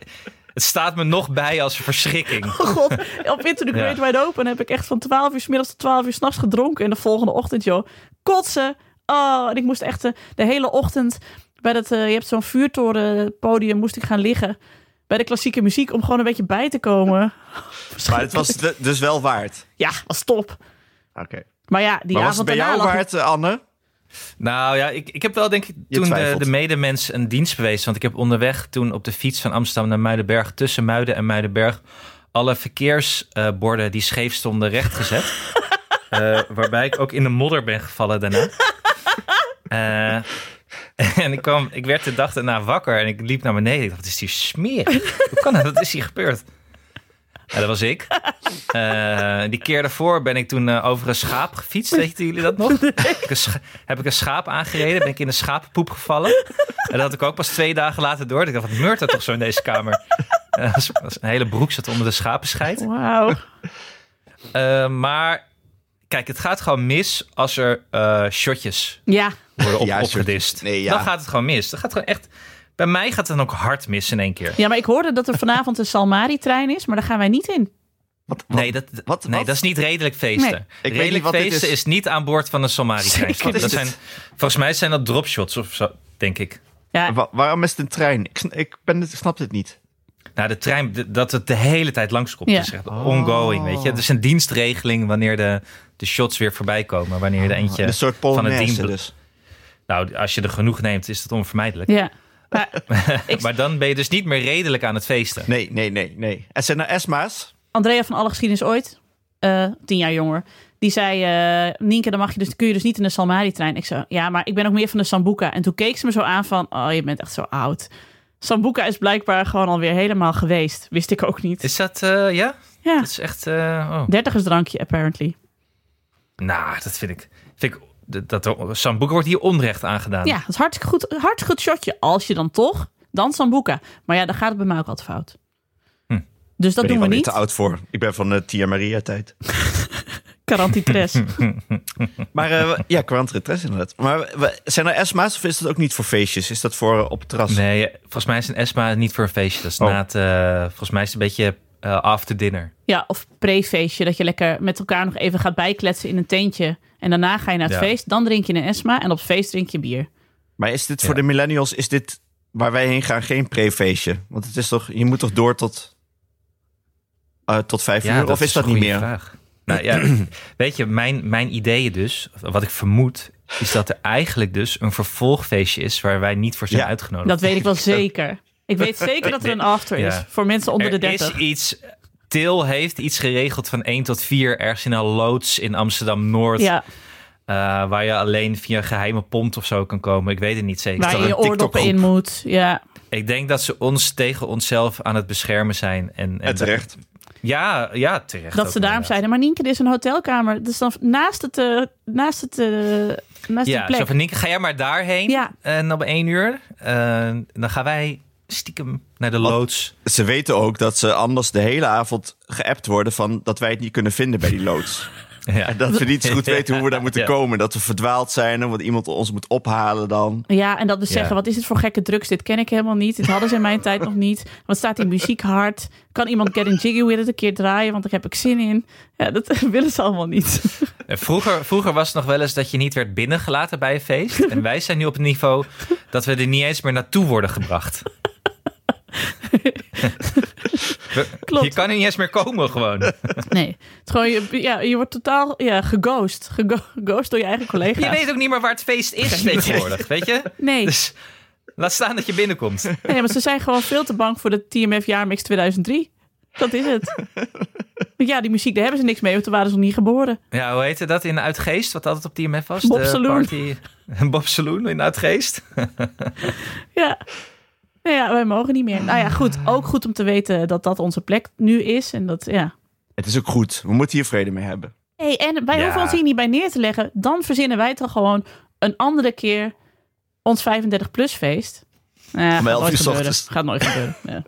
het staat me nog bij als een verschrikking. Oh god, op Winter the Ja. Great Wide Open heb ik echt van 12 uur s middags tot 12 uur s'nachts gedronken. En de volgende ochtend, joh, kotsen. Oh, en ik moest echt eh, de hele ochtend bij dat, eh, je hebt zo'n vuurtorenpodium, moest ik gaan liggen. Bij de klassieke muziek om gewoon een beetje bij te komen. <laughs> Maar het was de- dus wel waard. Ja, was top. Oké. Maar ja, die Maar was avond het bij jou daarna lag ik waard, eh, Anne? Nou ja, ik, ik heb wel denk ik toen de, twijfelt. de medemens een dienst bewezen. Want ik heb onderweg toen op de fiets van Amsterdam naar Muidenberg... tussen Muiden en Muidenberg alle verkeersborden die scheef stonden rechtgezet. Eh waarbij ik ook in de modder ben gevallen daarna. Eh, <laughs> En ik, kwam, ik werd de dag daarna wakker en ik liep naar beneden. Ik dacht, wat is die smeer? Hoe kan dat? Wat is hier gebeurd? Ja, dat was ik. Eh, die keer daarvoor ben ik toen eh, over een schaap gefietst. Weten jullie dat nog? Heb ik een scha- heb ik een schaap aangereden. Ben ik in een schapenpoep gevallen. En dat had ik ook pas twee dagen later door. Ik dacht, wat meurt dat toch zo in deze kamer? Eh, was- was een hele broek zat onder de schapenscheid. Wauw. Eh, maar kijk, het gaat gewoon mis als er eh, shotjes Ja, <laughs> worden op, Ja, shotjes. opgedist. Nee, ja. Dan gaat het gewoon mis. Dan gaat het gewoon echt... Bij mij gaat het dan ook hard mis in één keer. Ja, maar ik hoorde dat er vanavond een Salmari-trein is, maar daar gaan wij niet in. Wat, wat- Nee, dat, wat- nee wat? dat is niet redelijk feesten. Nee. weet Redelijk niet wat dit feesten is. is. niet aan boord van een somari Zeker dat niet. zijn, Volgens mij zijn dat dropshots of zo, denk ik. Ja, Wa- waarom is het een trein? Ik, sn- ik, ben het, ik snap dit niet. Nou, de trein, d- dat het de hele tijd langskomt. Ja. Dat is echt ongoing, weet Oh. je. Het is een dienstregeling wanneer de, de shots weer voorbij komen. Wanneer er eentje Oh, een soort van het Polonaise team... dus. Nou, als je er genoeg neemt, is dat onvermijdelijk. ja. Maar Maar dan ben je dus niet meer redelijk aan het feesten. Nee, nee, nee, nee. En zijn er Esma's? Andrea van Alle Geschiedenis ooit, eh, tien jaar jonger, die zei: eh Nienke, dan mag je dus, kun je dus niet in de Salmari-trein. Ik zei: Ja, maar ik ben ook meer van de Sambuca. En toen keek ze me zo aan van: Oh, je bent echt zo oud. Sambuca is blijkbaar gewoon alweer helemaal geweest. Wist ik ook niet. Is dat, eh, ja? Ja, Dat is echt, eh, oh. dertigersdrankje, apparently. Nou, dat vind ik. Vind ik dat, dat, Sambuca wordt hier onrecht aangedaan. Ja, dat is hartstikke goed, hartstikke goed shotje. Als je dan toch, dan Sambuca. Maar ja, dan gaat het bij mij ook altijd fout. Hm. Dus dat ben doen ik we wel weer niet. te oud voor. Ik ben van de Tia Maria <laughs> tijd. Carantitres. Maar eh, we- ja, kwantritres inderdaad. Maar we- we- zijn er Esma's of is dat ook niet voor feestjes? Is dat voor eh, op het terras? Nee, volgens mij is een ESMA niet voor een feestje. Dat is Oh. na het, eh, volgens mij is het een beetje eh, after dinner. Ja, of pre-feestje, dat je lekker met elkaar nog even gaat bijkletsen in een teentje. En daarna ga je naar het Ja. Oh. feest, dan drink je een Esma en op het feest drink je bier. Maar is dit voor de millennials, is dit waar wij heen gaan geen pre-feestje? Want het is toch, je moet toch door tot, eh, tot vijf uur? Of is, dat een niet goede meer? Vraag. Nou ja, <clears throat> weet je, mijn, mijn ideeën dus, wat ik vermoed, is dat er eigenlijk dus een vervolgfeestje is waar wij niet voor zijn Ja. uitgenodigd. Dat weet ik wel <laughs> zeker. Ik weet zeker dat er een after is Ja. voor mensen onder de er is 30. iets. Til heeft iets geregeld van 1 tot 4 ergens in een loods in Amsterdam Noord. Ja, eh, waar je alleen via een geheime pont of zo kan komen. Ik weet het niet zeker. waar je je oordoppen in moet. Ja, Ik denk dat ze ons tegen onszelf aan het beschermen zijn. En, en En terecht. Ja, ja, terecht. dat ook ze daarom inderdaad. zeiden, maar Nienke, dit is een hotelkamer. Dus dan naast het, eh, naast het, eh, naast de Ja, zo plek. van Nienke, ga jij maar daarheen. Ja. En om één uur, eh, dan gaan wij stiekem naar de Wat? <laughs> loods. Ze weten ook dat ze anders de hele avond geappt worden van dat wij het niet kunnen vinden bij die loods. Ja. En dat we niet zo <laughs> goed weten hoe we daar moeten Ja. komen. Dat we verdwaald zijn en wat iemand ons moet ophalen dan. Ja, en dat dus Ja. zeggen, wat is dit voor gekke drugs? Dit ken ik helemaal niet. Dit hadden ze in mijn tijd nog niet. Wat staat die muziek hard? Kan iemand Get in Jiggy with it een keer draaien? Want daar heb ik zin in. Ja, dat <laughs> willen ze allemaal niet. <laughs> En Vroeger, vroeger was het nog wel eens dat je niet werd binnengelaten bij een <laughs> feest. En wij zijn nu op het niveau dat we er niet eens meer naartoe worden gebracht. We- <laughs> Klopt. Je kan er niet eens meer komen gewoon. Nee. Het is gewoon, je, ja, je wordt totaal ja, geghost. Gego- <laughs> Geghost door je eigen collega's. Je weet ook niet meer waar het feest <laughs> is tegenwoordig, weet je? Nee. Dus laat staan dat je binnenkomt. nee, maar ze zijn gewoon veel te bang voor de TMF Jaarmix 2003. Dat is <laughs> het. Want ja, die muziek, daar hebben ze niks mee, want toen waren ze nog niet geboren. Ja, hoe heette dat in Uitgeest? Wat altijd op TMF was? Bob de Saloon. Party... <laughs> Bob Saloon in Uitgeest. Ja. Nou ja, wij mogen niet meer. Nou ja, goed. Ook goed om te weten dat dat onze plek nu is. En dat, ja, Het is ook goed. We moeten hier vrede mee hebben. Hey, en wij Ja. hoeven ons hier niet bij neer te leggen. Dan verzinnen wij toch gewoon een andere keer ons 35-plus feest. Eh, gaat, elf nooit uur 's gebeuren. ochtends. gaat nooit gebeuren. Ja.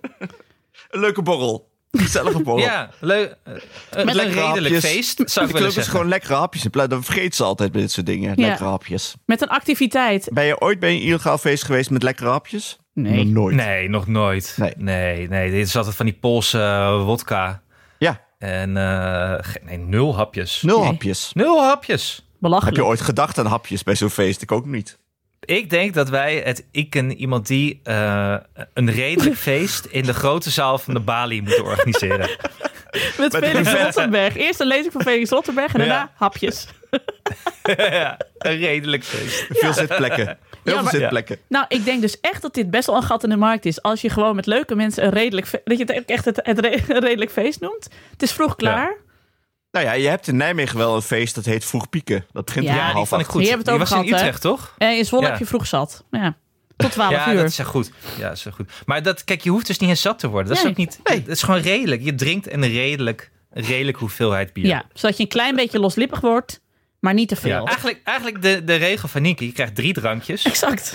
Een leuke borrel. Gezellige borrel. Ja, leuk. eh, een lekkere redelijk hapjes. feest, zou de ik club willen is zeggen. gewoon lekkere hapjes. In plaats, dan vergeet ze altijd bij dit soort dingen. Ja. Lekkere hapjes. Met een activiteit. Ben je ooit bij een illegaal feest geweest met lekkere hapjes? Nee. Nog nooit. Nee, nog nooit. Nee. Nee. nee, Dit is altijd van die Poolse eh, wodka. Ja, En eh, ge- nee, nul hapjes. nul Nee. hapjes. Nul hapjes. Heb je Belachelijk. ooit gedacht aan hapjes bij zo'n feest? Ik ook niet. Ik denk dat wij het ik en iemand die eh, een <laughs> redelijk feest in de grote zaal van de Bali moeten organiseren. <laughs> <laughs> Met Felix buffet. Rottenberg. Eerst een lezing van Felix Rottenberg en daarna Ja. hapjes. ja, een redelijk feest. Veel zitplekken. Heel veel maar- zitplekken. Nou, ik denk dus echt dat dit best wel een gat in de markt is. Als je gewoon met leuke mensen een redelijk, fe- dat je het ook echt het, het re- <laughs> een redelijk feest noemt. Het is vroeg klaar. Nou ja, je hebt in Nijmegen wel een feest dat heet Vroeg Pieken. Dat begint Ja, om Ja, die half vond ik acht. goed. Je hebt het Die ook was gehad, in hè? Utrecht, toch? En Eh, in Zwolle Ja. heb je vroeg zat. Ja. Tot 12 Ja, uur. dat is echt goed. Ja, dat is echt goed. Maar dat, kijk, je hoeft dus niet eens zat te worden. Dat Nee. is ook niet. Het is gewoon redelijk. Je drinkt een redelijk, een redelijk hoeveelheid bier. Ja, zodat je een klein beetje loslippig wordt, maar niet te Ja, veel. eigenlijk, eigenlijk de, de regel van Nienke. Je krijgt drie <laughs> drankjes. Exact.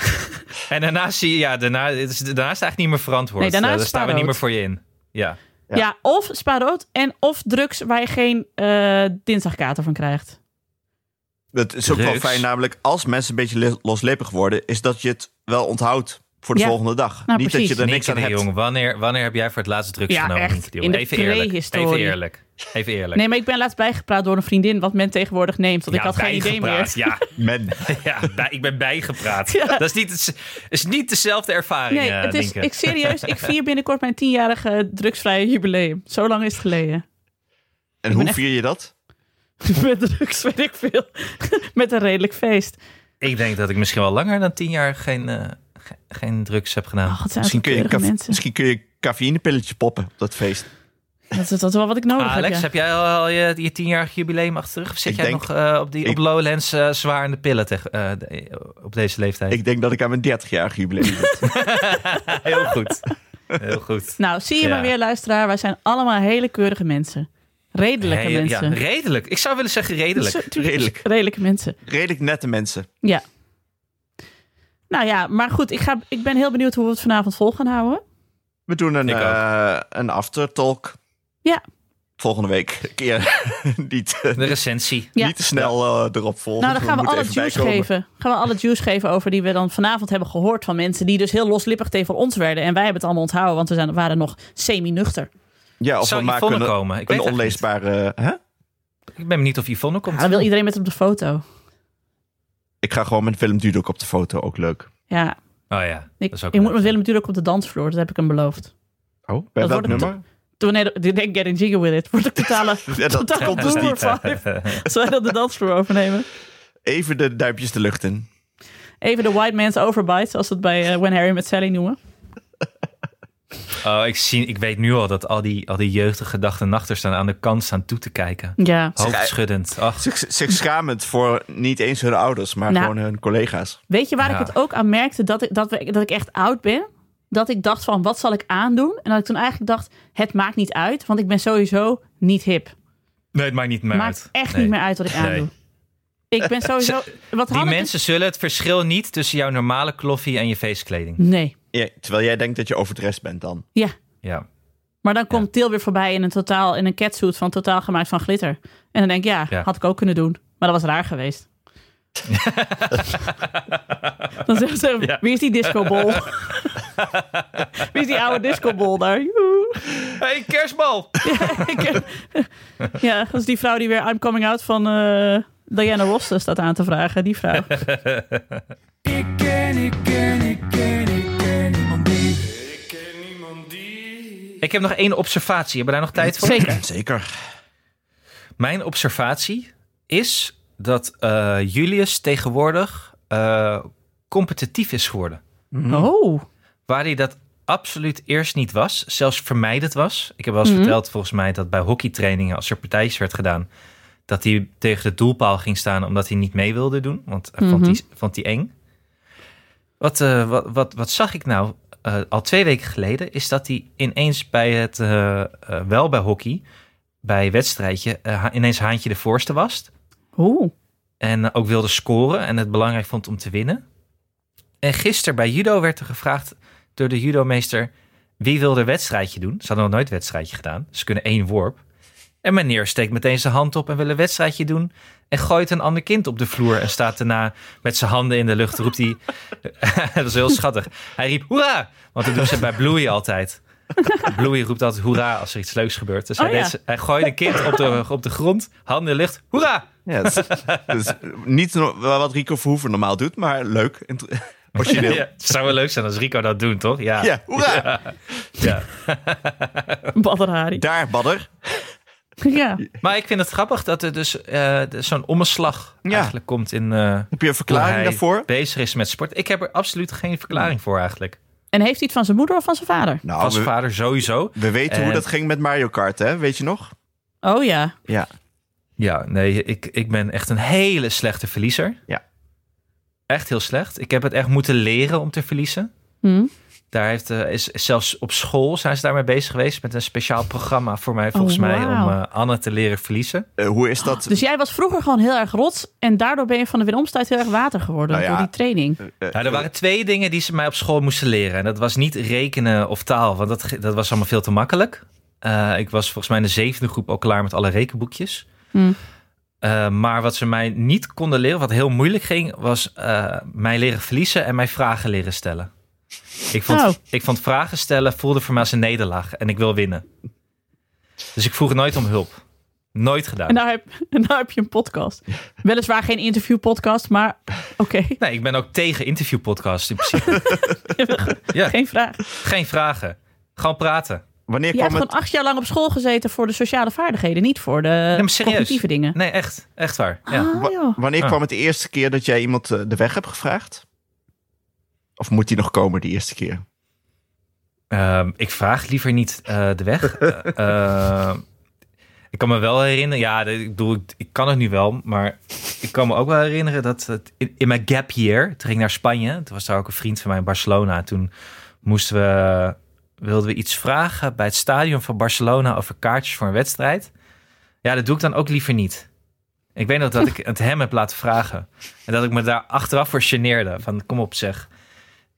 En daarna zie je, ja, daarna, het is, daarna is het eigenlijk niet meer verantwoord. Nee, daarna Eh, is Daar staan we spaarrood. niet meer voor je in. Ja. Ja, of spaarrood en of drugs waar je geen eh, dinsdagkater van krijgt. Het is ook wel Drugs. fijn, namelijk als mensen een beetje le- loslippig worden, is dat je het wel onthoudt voor de Ja. volgende Nou, dag. niet dat precies. je er niks Nienke aan de hebt. Jong, wanneer, wanneer heb jij voor het laatst drugs Ja, genomen? echt. Nienke de Jong? In de even, eerlijk, even prehistorie. eerlijk. Even eerlijk. Nee, maar ik ben laatst bijgepraat door een vriendin wat men tegenwoordig neemt. Want Ja, ik had geen idee meer. bijgepraat, Ja, <laughs> Men. ja bij- ik ben bijgepraat. <laughs> Ja. Dat is niet, het- is niet dezelfde ervaring, Nee, eh, het is, Nienke. ik, serieus, ik vier binnenkort mijn tienjarige drugsvrije jubileum. Zo lang is het geleden. <laughs> En hoe vier je dat? Met drugs, weet ik veel. <laughs> Met een redelijk feest. Oh, Ik denk dat ik misschien wel langer dan tien jaar geen, eh, ge- geen drugs heb gedaan. Oh, wat zijn Misschien het kun, je een keurige caf- mensen. misschien kun je een cafeïnepilletje poppen op dat feest. Dat is, dat is wel wat ik nodig Alex, heb. heb jij al, al je, je tienjarig jubileum achter de rug? Of zit Ik jij denk- nog eh, op, die, op ik- Lowlands eh, zwaar in de pillen tegen eh, de- eh, op deze leeftijd? <laughs> Ik denk dat ik aan mijn 30-jarig <laughs> jubileum ben. Heel goed. Heel goed. Nou, zie Ja. je maar weer, luisteraar. Wij zijn allemaal hele keurige mensen. Redelijke Hey, ja, mensen. redelijk. Ik zou willen zeggen redelijk. Zo- Redelijk. Redelijke mensen. Redelijk nette mensen. Ja. Nou ja, maar goed. Ik, ga, ik ben heel benieuwd hoe we het vanavond vol gaan houden. We doen een, Ik ook. eh een aftertalk. Ja. Volgende week. <laughs> Ja, niet, eh, De recensie. Ja. niet te snel eh, erop volgen. Nou, dan gaan we, moeten alle even juice bijkomen. geven. Gaan we alle juice geven over die we dan vanavond hebben gehoord van mensen die dus heel loslippig tegen ons werden. En wij hebben het allemaal onthouden, want we zijn, waren nog semi-nuchter. Ja, of Zou we maken Yvonne een, komen? Ik een weet het eigenlijk niet. onleesbare... Hè? Ik ben benieuwd of Yvonne Ja, komt. Dus dan wil iedereen met op de foto. Ik ga gewoon met Willem Dudok op de foto, ook leuk. Ja, Oh ja, ik, dat is ook ik moet leuk. met Willem natuurlijk op de dansvloer, dat heb ik hem beloofd. Oh, bij Dat welk wordt het nummer? Toen nee, de Get in Jiggy With It wordt ik totale, <laughs> Ja, dat totale komt dus Blue niet. Five. <laughs> Als wij dat de dansvloer overnemen. Even de duimpjes de lucht in. Even de white man's overbite, zoals we het bij eh, When Harry Met Sally noemen. Oh, ik, zie, ik weet nu al dat al die, al die jeugdige dag en nachters dan aan de kant staan toe te kijken. Ja. Hoofdschuddend. Ach, Zich, zich schamend voor niet eens hun ouders, maar Nou. gewoon hun collega's. Weet je waar Ja. ik het ook aan merkte dat ik, dat, we, dat ik echt oud ben? Dat ik dacht van, wat zal ik aandoen? En dat ik toen eigenlijk dacht, het maakt niet uit, want ik ben sowieso niet hip. nee, het maakt niet meer maakt uit. echt Nee. niet meer uit wat ik Nee. aandoe. Ik <laughs> ben sowieso... Wat Die Hanneke- mensen zullen het verschil niet tussen jouw normale kloffie en je feestkleding. Nee, Ja, terwijl jij denkt dat je overdressed bent dan. ja. Ja. Maar dan komt Til weer voorbij in een totaal in een catsuit van totaal gemaakt van glitter. En dan denk ik, ja, Ja. had ik ook kunnen doen. Maar dat was raar <laughs> geweest. dan zeggen ze, Ja. wie is die <laughs> discobol? wie is die oude discobol daar? Joehoe. hey, kerstbal! Ik- <laughs> ja, dat is die vrouw die weer I'm Coming Out van eh, Diana Ross staat aan te vragen. Die vrouw. Ik ken, ik ken, ik ken, ik ken niemand die. Ik ken niemand die. Ik heb nog één observatie. Hebben we daar nog tijd voor? Zeker. Zeker. Mijn observatie is dat eh, Julius tegenwoordig eh, competitief is geworden. Oh, Waar hij dat absoluut eerst niet was, zelfs vermijdend was. Ik heb wel eens verteld volgens mij dat bij hockeytrainingen als er partijtjes werd gedaan, dat hij tegen de doelpaal ging staan omdat hij niet mee wilde doen, want hij vond, die, vond die eng. Wat, eh, wat, wat, wat zag ik nou eh, al twee weken geleden, is dat hij ineens bij het, eh, eh, wel bij hockey, bij wedstrijdje, eh, ha- ineens haantje de voorste was. oeh. En eh, ook wilde scoren en het belangrijk vond om te winnen. En gisteren bij judo werd er gevraagd door de judomeester... wie wil er wedstrijdje doen? Ze hadden nog nooit wedstrijdje gedaan. Ze kunnen één worp. En meneer steekt meteen zijn hand op en wil een wedstrijdje doen... en gooit een ander kind op de vloer en staat daarna met zijn handen in de lucht. Roept hij... <laughs> dat is heel schattig. Hij riep hoera! Want dat doen ze bij Bloei altijd. Bloei roept altijd hoera als er iets leuks gebeurt. Dus Oh, hij, ja. deed ze- hij gooide een kind op de, op de grond, handen in de lucht. Hoera! <laughs> Ja, dat is- dat is niet no- wat Rico Verhoeven normaal doet, maar leuk. Int- Origineel. Ja, het zou wel leuk zijn als Rico dat doet, toch? Ja. <laughs> Ja, hoera. ja. Badr <laughs> Hari. Daar, Badder. Ja. Maar ik vind het grappig dat er dus eh, de- zo'n omslag Ja. eigenlijk komt in... eh, Heb je een verklaring hoe hij daarvoor? bezig is met sport. Ik heb er absoluut geen verklaring voor eigenlijk. En heeft hij het van zijn moeder of van zijn vader? Nou, Als we, vader sowieso. we weten hoe En- dat ging met Mario Kart, hè? Weet je nog? Oh ja. Ja. Ja, nee, ik, ik ben echt een hele slechte verliezer. Ja. Echt heel slecht. Ik heb het echt moeten leren om te verliezen. Hm? Daar heeft, eh, is, is zelfs op school zijn ze daarmee bezig geweest met een speciaal programma voor mij, volgens mij, om wauw. eh, Anne te leren verliezen. Eh, hoe is dat? Dus jij was vroeger gewoon heel erg rots en daardoor ben je van de winomstuit heel erg water geworden Nou ja. door die training. eh, Nou, er waren twee dingen die ze mij op school moesten leren. En dat was niet rekenen of taal, want dat, ge- dat was allemaal veel te makkelijk. Eh, ik was volgens mij in de zevende groep al klaar met alle rekenboekjes. Hm. Eh, maar wat ze mij niet konden leren, wat heel moeilijk ging, was eh, mij leren verliezen en mij vragen leren stellen. Ik vond, Oh. ik vond vragen stellen voelde voor mij als een nederlaag en ik wil winnen. Dus ik vroeg nooit om hulp. Nooit En gedaan. nou, heb, <laughs> en nou heb je een podcast. Weliswaar geen interviewpodcast, maar <laughs> oké, Nee, ik ben ook tegen interviewpodcasts in principe. ja, geen vraag. geen vragen. Gewoon praten. wanneer Je hebt kwam gewoon het? acht jaar lang op school gezeten voor de sociale vaardigheden, niet voor de maar serieus. cognitieve dingen. Nee, echt. Echt waar. Ja. Ah, joh. wa- Wanneer Ah. kwam het de eerste keer dat jij iemand eh, de weg hebt gevraagd? Of moet die nog komen de eerste keer? Ehm, ik vraag liever niet eh, de weg. Eh, ehm, ik kan me wel herinneren. Ja, de- ik bedoel, ik, ik kan het nu wel. Maar ik kan me ook wel herinneren dat het, in, in mijn gap year. Toen ging ik naar Spanje. Toen was daar ook een vriend van mij in Barcelona. Toen moesten we. Wilden we iets vragen bij het stadion van Barcelona over kaartjes voor een wedstrijd? Ja, dat doe ik dan ook liever niet. Ik weet nog dat ik het hem heb laten vragen. En dat ik me daar achteraf voor geneerde. Van kom op zeg.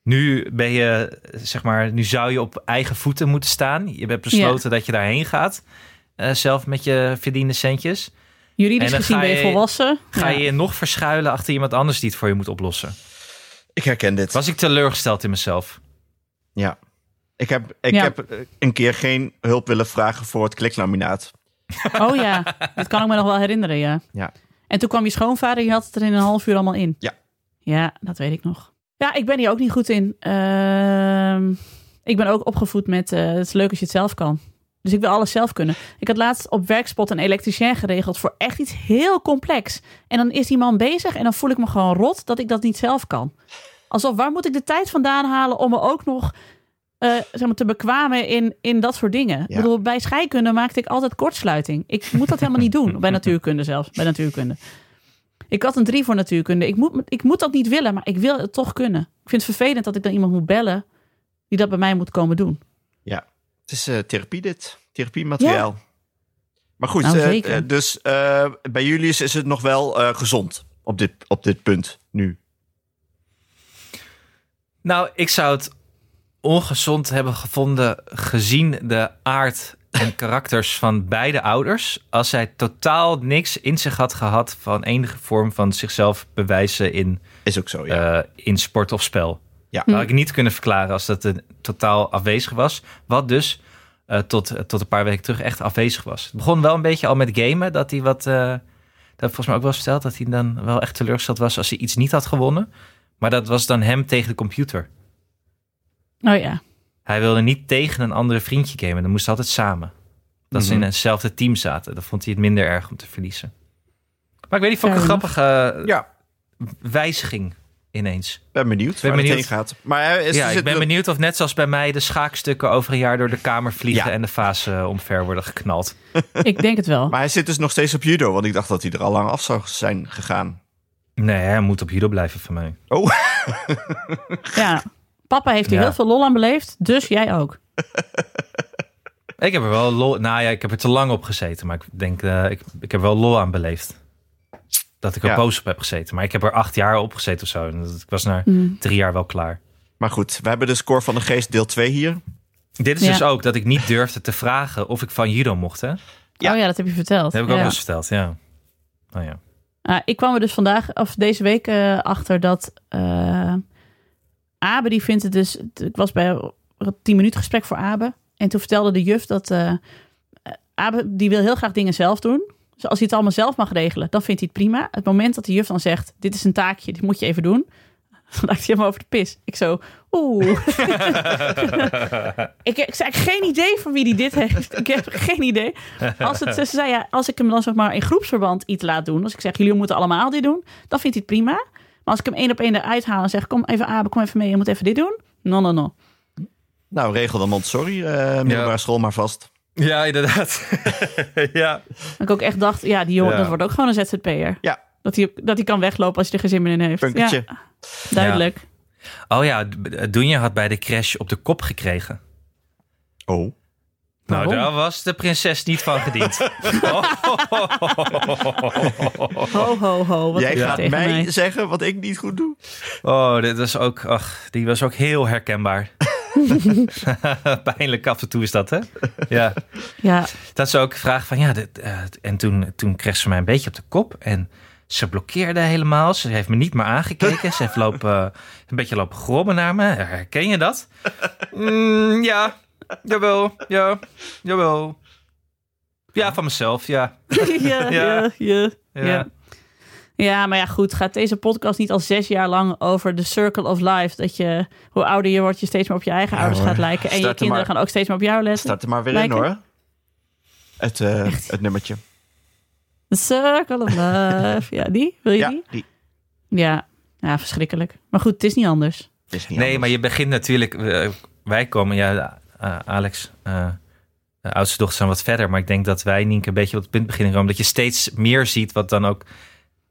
Nu ben je, zeg maar, nu zou je op eigen voeten moeten staan. Je hebt besloten dat je daarheen gaat. eh, zelf met je verdiende centjes. En Juridisch dan gezien ga ben je je- volwassen. Ga Ja. je je nog verschuilen achter iemand anders die het voor je moet oplossen? Ik herken dit. Was ik teleurgesteld in mezelf? Ja. Ik heb, ik Ja. heb eh, een keer geen hulp willen vragen voor het kliklaminaat. Oh ja, dat kan ik me nog wel herinneren, ja. Ja. En toen kwam je schoonvader, je had het er in een half uur allemaal in. Ja. Ja, dat weet ik nog. Ja, ik ben hier ook niet goed in. Ehm, ik ben ook opgevoed met, eh, het is leuk als je het zelf kan. Dus ik wil alles zelf kunnen. Ik had laatst op werkspot een elektricien geregeld voor echt iets heel complex. En dan is die man bezig en dan voel ik me gewoon rot dat ik dat niet zelf kan. Alsof, waar moet ik de tijd vandaan halen om me ook nog eh, zeg maar, te bekwamen in, in dat soort dingen? Ik bedoel, bij scheikunde maakte ik altijd kortsluiting. Ik moet dat helemaal niet doen. Bij natuurkunde zelfs, bij natuurkunde. Ik had een drie voor natuurkunde. Ik moet, ik moet dat niet willen, maar ik wil het toch kunnen. Ik vind het vervelend dat ik dan iemand moet bellen die dat bij mij moet komen doen. Het is eh, therapie dit. Therapiemateriaal. Maar goed, Nou, eh, zeker. eh, dus eh, bij Julius is het nog wel eh, gezond op dit, op dit punt nu. Nou, ik zou het ongezond hebben gevonden gezien de aard en karakters van beide ouders. Als zij totaal niks in zich had gehad van enige vorm van zichzelf bewijzen in, Is ook zo, ja. eh, in sport of spel. Ja. Hm. Dat had ik niet kunnen verklaren als dat eh, totaal afwezig was. Wat dus eh, tot, eh, tot een paar weken terug echt afwezig was. Het begon wel een beetje al met gamen. Dat hij wat. eh, dat heb ik volgens mij ook wel eens verteld. Dat hij dan wel echt teleurgesteld was als hij iets niet had gewonnen. Maar dat was dan hem tegen de computer. Oh ja. Hij wilde niet tegen een andere vriendje gamen. Dan moesten ze altijd samen. Dat ze in hetzelfde team zaten. Dan vond hij het minder erg om te verliezen. Maar ik weet niet, vond ik een Fair grappige eh, ja, wijziging ineens. ben benieuwd ben waar het heen benieuwd. gaat. Maar eh, is, Ja, is ik het ben nog- benieuwd of net zoals bij mij de schaakstukken over een jaar door de kamer vliegen Ja. en de fase omver worden geknald. Ik denk het <laughs> wel. Maar hij zit dus nog steeds op judo, want ik dacht dat hij er al lang af zou zijn gegaan. Nee, hij moet op judo blijven van mij. Ja. Papa heeft hier Ja. heel veel lol aan beleefd, dus jij ook. Ik heb er wel lol. Nou ja, ik heb er te lang op gezeten, maar ik denk, eh, ik, ik heb wel lol aan beleefd. Dat ik er Ja. boos op heb gezeten. Maar ik heb er acht jaar op gezeten of zo. En dat- ik was na Mm. drie jaar wel klaar. Maar goed, we hebben de score van de geest deel 2 hier. Dit is Ja. dus ook dat ik niet durfde te vragen of ik van judo mocht. Hè? Dat Ja. Oh ja, dat heb je verteld. heb ik ook Ja. wel eens verteld, ja. Oh, ja. Ah, ik kwam er dus vandaag, of deze week, eh, achter dat eh, Abe, die vindt het dus... Ik was bij een tien minuut gesprek voor Abe. En toen vertelde de juf dat eh, Abe, die wil heel graag dingen zelf doen. Dus als hij het allemaal zelf mag regelen, dan vindt hij het prima. Het moment dat de juf dan zegt, dit is een taakje, dit moet je even doen. <laughs> Dan dacht hij helemaal over de pis. Ik zo, oeh. <laughs> ik, ik zei, ik heb geen idee van wie die dit heeft. Ik heb geen idee. Als het, ze zei, ja, als ik hem dan zeg maar in groepsverband iets laat doen. Als ik zeg, jullie moeten allemaal dit doen. Dan vindt hij het prima. Maar als ik hem één op één eruit haal en zeg, kom even Abe, kom even mee. Je moet even dit doen. No, no, no. Nou, regel dan Montessori, eh middelbare school maar vast. ja, inderdaad. ja. <laughs> Dat ik ook echt dacht, ja, die jongen Ja. dat wordt ook gewoon een ZZP'er. Ja, Dat hij, dat hij kan weglopen als je er geen zin meer in heeft. Punkertje. Ja, duidelijk. Oh ja, D- Dunja had bij de crash op de kop gekregen. Oh. Nou, Waarom? daar was de prinses niet van gediend. Ho, ho, ho. Wat Jij doe je gaat mij, tegen mij. zeggen wat ik niet goed doe? Oh, dit was ook, ach, die was ook heel herkenbaar. Pijnlijk af en toe is dat, hè? Ja. Ja, <laughs> Dat ze ook vragen van, ja, dit, eh, en toen, toen kreeg ze mij een beetje op de kop. En ze blokkeerde helemaal. Ze heeft me niet meer aangekeken. Ze heeft lopen, eh, een beetje lopen grommen naar me. Herken je dat? Mm, ja, jawel, ja, jawel. Ja, van mezelf, ja. ja, ja, ja, Ja. ja. Ja, maar ja, goed. Gaat deze podcast niet al zes jaar lang over de circle of life? Dat je, hoe ouder je wordt, je steeds meer op je eigen ouders gaat lijken. En Start je er kinderen maar. gaan ook steeds meer op jou letten. Start er maar weer Lijken. in hoor. Het, eh, het nummertje. The circle of life. Ja, die? Wil je Ja, die? die Ja. ja, verschrikkelijk. Maar goed, het is niet anders. is Nee, niet anders. maar je begint natuurlijk. eh, wij komen, ja, eh, Alex, eh, de oudste dochters zijn wat verder. Maar ik denk dat wij, Nienke, een beetje op het punt beginnen komen. Dat je steeds meer ziet wat dan ook.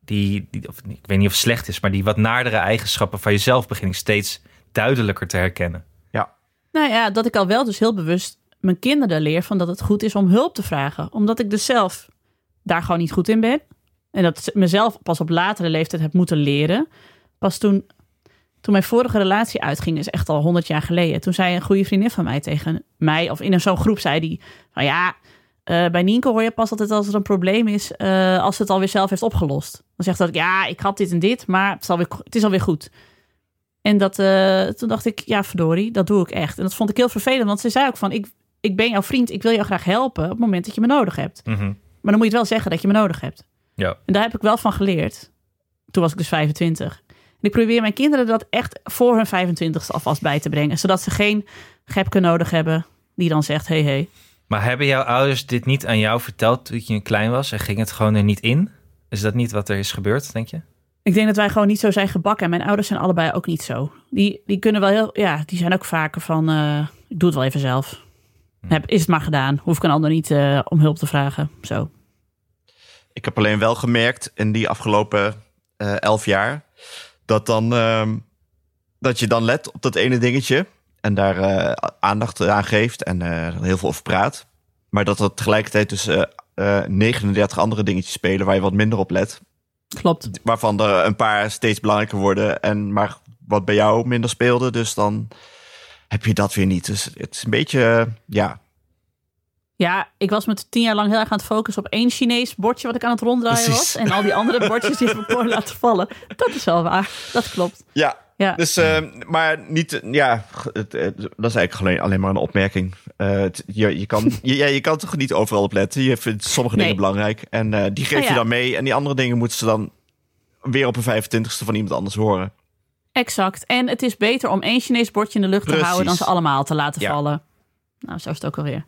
Die, die of, ik weet niet of het slecht is, maar die wat naardere eigenschappen van jezelf beginnen steeds duidelijker te herkennen. Nou ja, dat ik al wel dus heel bewust mijn kinderen leer van dat het goed is om hulp te vragen. Omdat ik dus zelf daar gewoon niet goed in ben. En dat mezelf pas op latere leeftijd heb moeten leren. Pas toen, toen mijn vorige relatie uitging, is echt al honderd jaar geleden. Toen zei een goede vriendin van mij tegen mij, of in een- zo'n groep zei die... van ja, eh, bij Nienke hoor je pas altijd als er een probleem is... eh, als ze het alweer zelf heeft opgelost. Dan zegt dat, ja, ik had dit en dit, maar het is alweer, het is alweer goed. En dat, eh, toen dacht ik, ja, verdorie, dat doe ik echt. En dat vond ik heel vervelend, want ze zei ook van... Ik, ik ben jouw vriend, ik wil jou graag helpen op het moment dat je me nodig hebt. Mhm. Maar dan moet je het wel zeggen dat je me nodig hebt. Ja. En daar heb ik wel van geleerd. Toen was ik dus 25. En ik probeer mijn kinderen dat echt voor hun 25ste alvast bij te brengen. Zodat ze geen gepke nodig hebben die dan zegt, hey, hey. Maar hebben jouw ouders dit niet aan jou verteld toen je klein was en ging het gewoon er niet in? Is dat niet wat er is gebeurd, denk je? Ik denk dat wij gewoon niet zo zijn gebakken. En mijn ouders zijn allebei ook niet zo. Die, die kunnen wel heel, ja, die zijn ook vaker van, eh, ik doe het wel even zelf. Hm. Heb, is het maar gedaan. Hoef ik een ander niet eh, om hulp te vragen. Zo. Ik heb alleen wel gemerkt in die afgelopen eh, elf jaar dat dan ehm, dat je dan let op dat ene dingetje en daar eh, aandacht aan geeft en eh, heel veel over praat, maar dat er tegelijkertijd dus eh, eh, 39 andere dingetjes spelen waar je wat minder op let, Klopt. waarvan er een paar steeds belangrijker worden en maar wat bij jou minder speelde, dus dan heb je dat weer niet. Dus het is een beetje eh, ja Ja, ik was me tien jaar lang heel erg aan het focussen op één Chinees bordje wat ik aan het ronddraaien was. Precies. En al die andere bordjes die heb ik voor laten vallen. Dat is wel waar. Dat klopt. ja. Ja, Dus, ehm, maar niet, ja, het, het- dat is eigenlijk alleen, alleen maar een opmerking. Eh, het- je, je, <laughs> kan, je, ja, je kan toch niet overal op letten. Je vindt sommige Nee. dingen belangrijk en eh, die geef Nou ja. je dan mee. En die andere dingen moeten ze dan weer op een 25ste van iemand anders horen. exact. En het is beter om één Chinees bordje in de lucht te Precies. houden dan ze allemaal te laten Ja. vallen. Nou, zo is het ook alweer.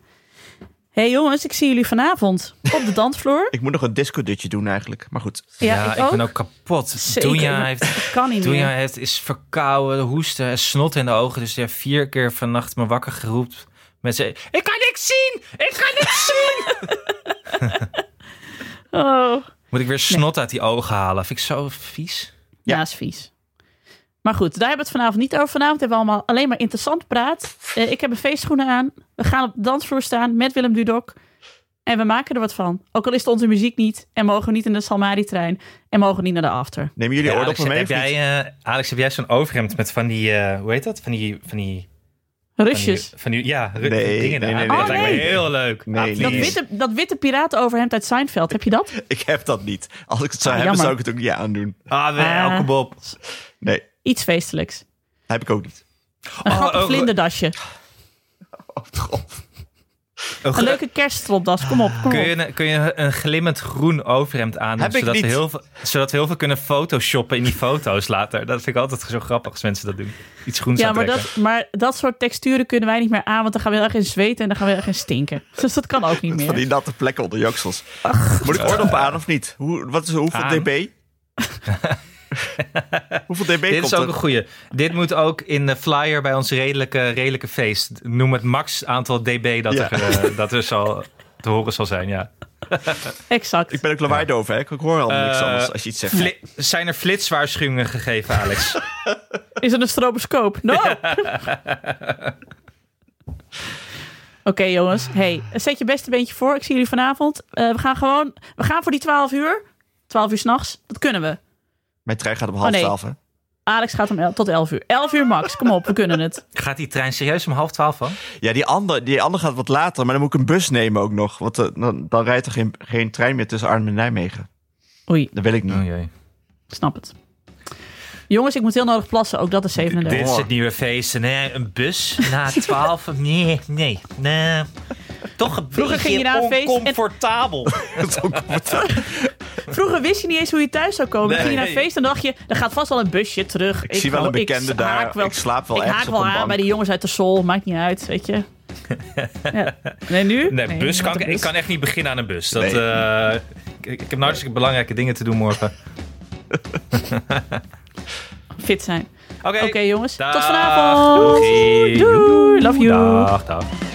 Hé hey jongens, ik zie jullie vanavond op de dansvloer. Ik moet nog een disco-dutje doen eigenlijk, maar goed. Ja, ik, ben ook kapot. Zeker. Toen je heeft Ik kan niet Toen meer. jij heeft, is verkouden, hoesten en snot in de ogen. Dus die heeft vier keer vannacht me wakker geroepen. Met zijn, ik kan niks zien! Ik kan niks zien! <laughs> Oh. Moet ik weer snot uit die ogen halen? Vind ik zo vies. Ja, is vies. Maar goed, daar hebben we het vanavond niet over. Vanavond hebben we allemaal alleen maar interessant praat. Eh, ik heb een feestschoenen aan. We gaan op de dansvloer staan met Willem Dudok. En we maken er wat van. Ook al is het onze muziek niet. En mogen we niet in de Salmari-trein. En mogen we niet naar de after. Nemen jullie Ja, Alex, oordoppen mee? heb of niet? jij, eh, Alex, heb jij zo'n overhemd met van die, eh, hoe heet dat? Van die, van die, van die, Rusjes. van die ja, ru- Nee, dingen nee, daar. Ah, dat nee, nee, nee. lijkt me Nee. heel leuk. Nee, Ah, nee, Dat nee. please. witte, dat witte piratenoverhemd uit Seinfeld. Heb je dat? <laughs> Ik heb dat niet. Als ik het zou Ah, hebben, zou jammer. ik het ook niet aandoen. Ah, we- elke Bob. Nee, Iets feestelijks. heb ik ook niet. Een grappig oh, vlinderdasje. Oh, god. Een leuke kerststropdas. Kom op, kom Kun op. je, een- kun je een glimmend groen overhemd aandoen, Heb ik zodat we, niet. heel veel, zodat we heel veel kunnen photoshoppen in die foto's later? Dat vind ik altijd zo grappig als mensen dat doen. Iets groens Ja, maar aantrekken. dat, maar dat soort texturen kunnen wij niet meer aan. Want dan gaan we heel erg in zweten en dan gaan we heel erg in stinken. <laughs> Dus dat kan ook niet meer. Van die natte plekken onder joksels. Moet ik oordoppen aan of niet? Hoe, wat is, hoeveel Aan. <laughs> dB? hoeveel dB Dit komt is ook er? een goeie. Dit moet ook in de flyer bij ons redelijke, redelijke feest. Noem het max aantal dB <laughs> dat, Ja. er, eh, dat er zal te horen zal zijn, ja. Exact. Ik ben ook lawaaidoof, hè? Ik hoor al niks Eh, anders als je iets zegt. Fli- zijn er flitswaarschuwingen gegeven, Alex? Is het een stroboscoop? No! Oké <laughs> jongens, hey, zet je beste beentje voor. Ik zie jullie vanavond. Eh, we gaan gewoon, we gaan voor die 12 uur. 12 uur s'nachts, dat kunnen we. Mijn trein Oh, gaat om half nee. twaalf, hè? Alex gaat om el- tot 11 uur. 11 uur max, kom op, we kunnen het. <laughs> Gaat die trein serieus om half twaalf van? Ja, die andere die ander gaat wat later, maar dan moet ik een bus nemen ook nog. Want eh, dan, dan rijdt er geen, geen trein meer tussen Arnhem en Nijmegen. Oei, Dat wil ik niet. Oh jee. snap het. Jongens, ik moet heel nodig plassen, ook dat is 37. Dit is het nieuwe feest. Nee, een bus <laughs> na twaalf. Nee, nee, nee. Toch een Vroeger beetje ging je naar een feest en- oncomfortabel. Vroeger wist je niet eens hoe je thuis zou komen. Nee. Dan ging je naar een feest en dacht je, er gaat vast wel een busje terug. Ik, zie wel hou- een bekende haak daar. Ik slaap wel ik ergens haak op wel een aan bank. bij die jongens uit de sol. Maakt niet uit, weet <laughs> je. ja. Nee, nu? Nee, bus met kan, de ik- ik kan echt niet beginnen aan een bus. Dat, Nee. eh, ik, ik heb nou hartstikke belangrijke dingen te doen morgen. Fit zijn. Oké, Oké jongens, dag. tot vanavond. Doei. Doei, love you. Dag, dag.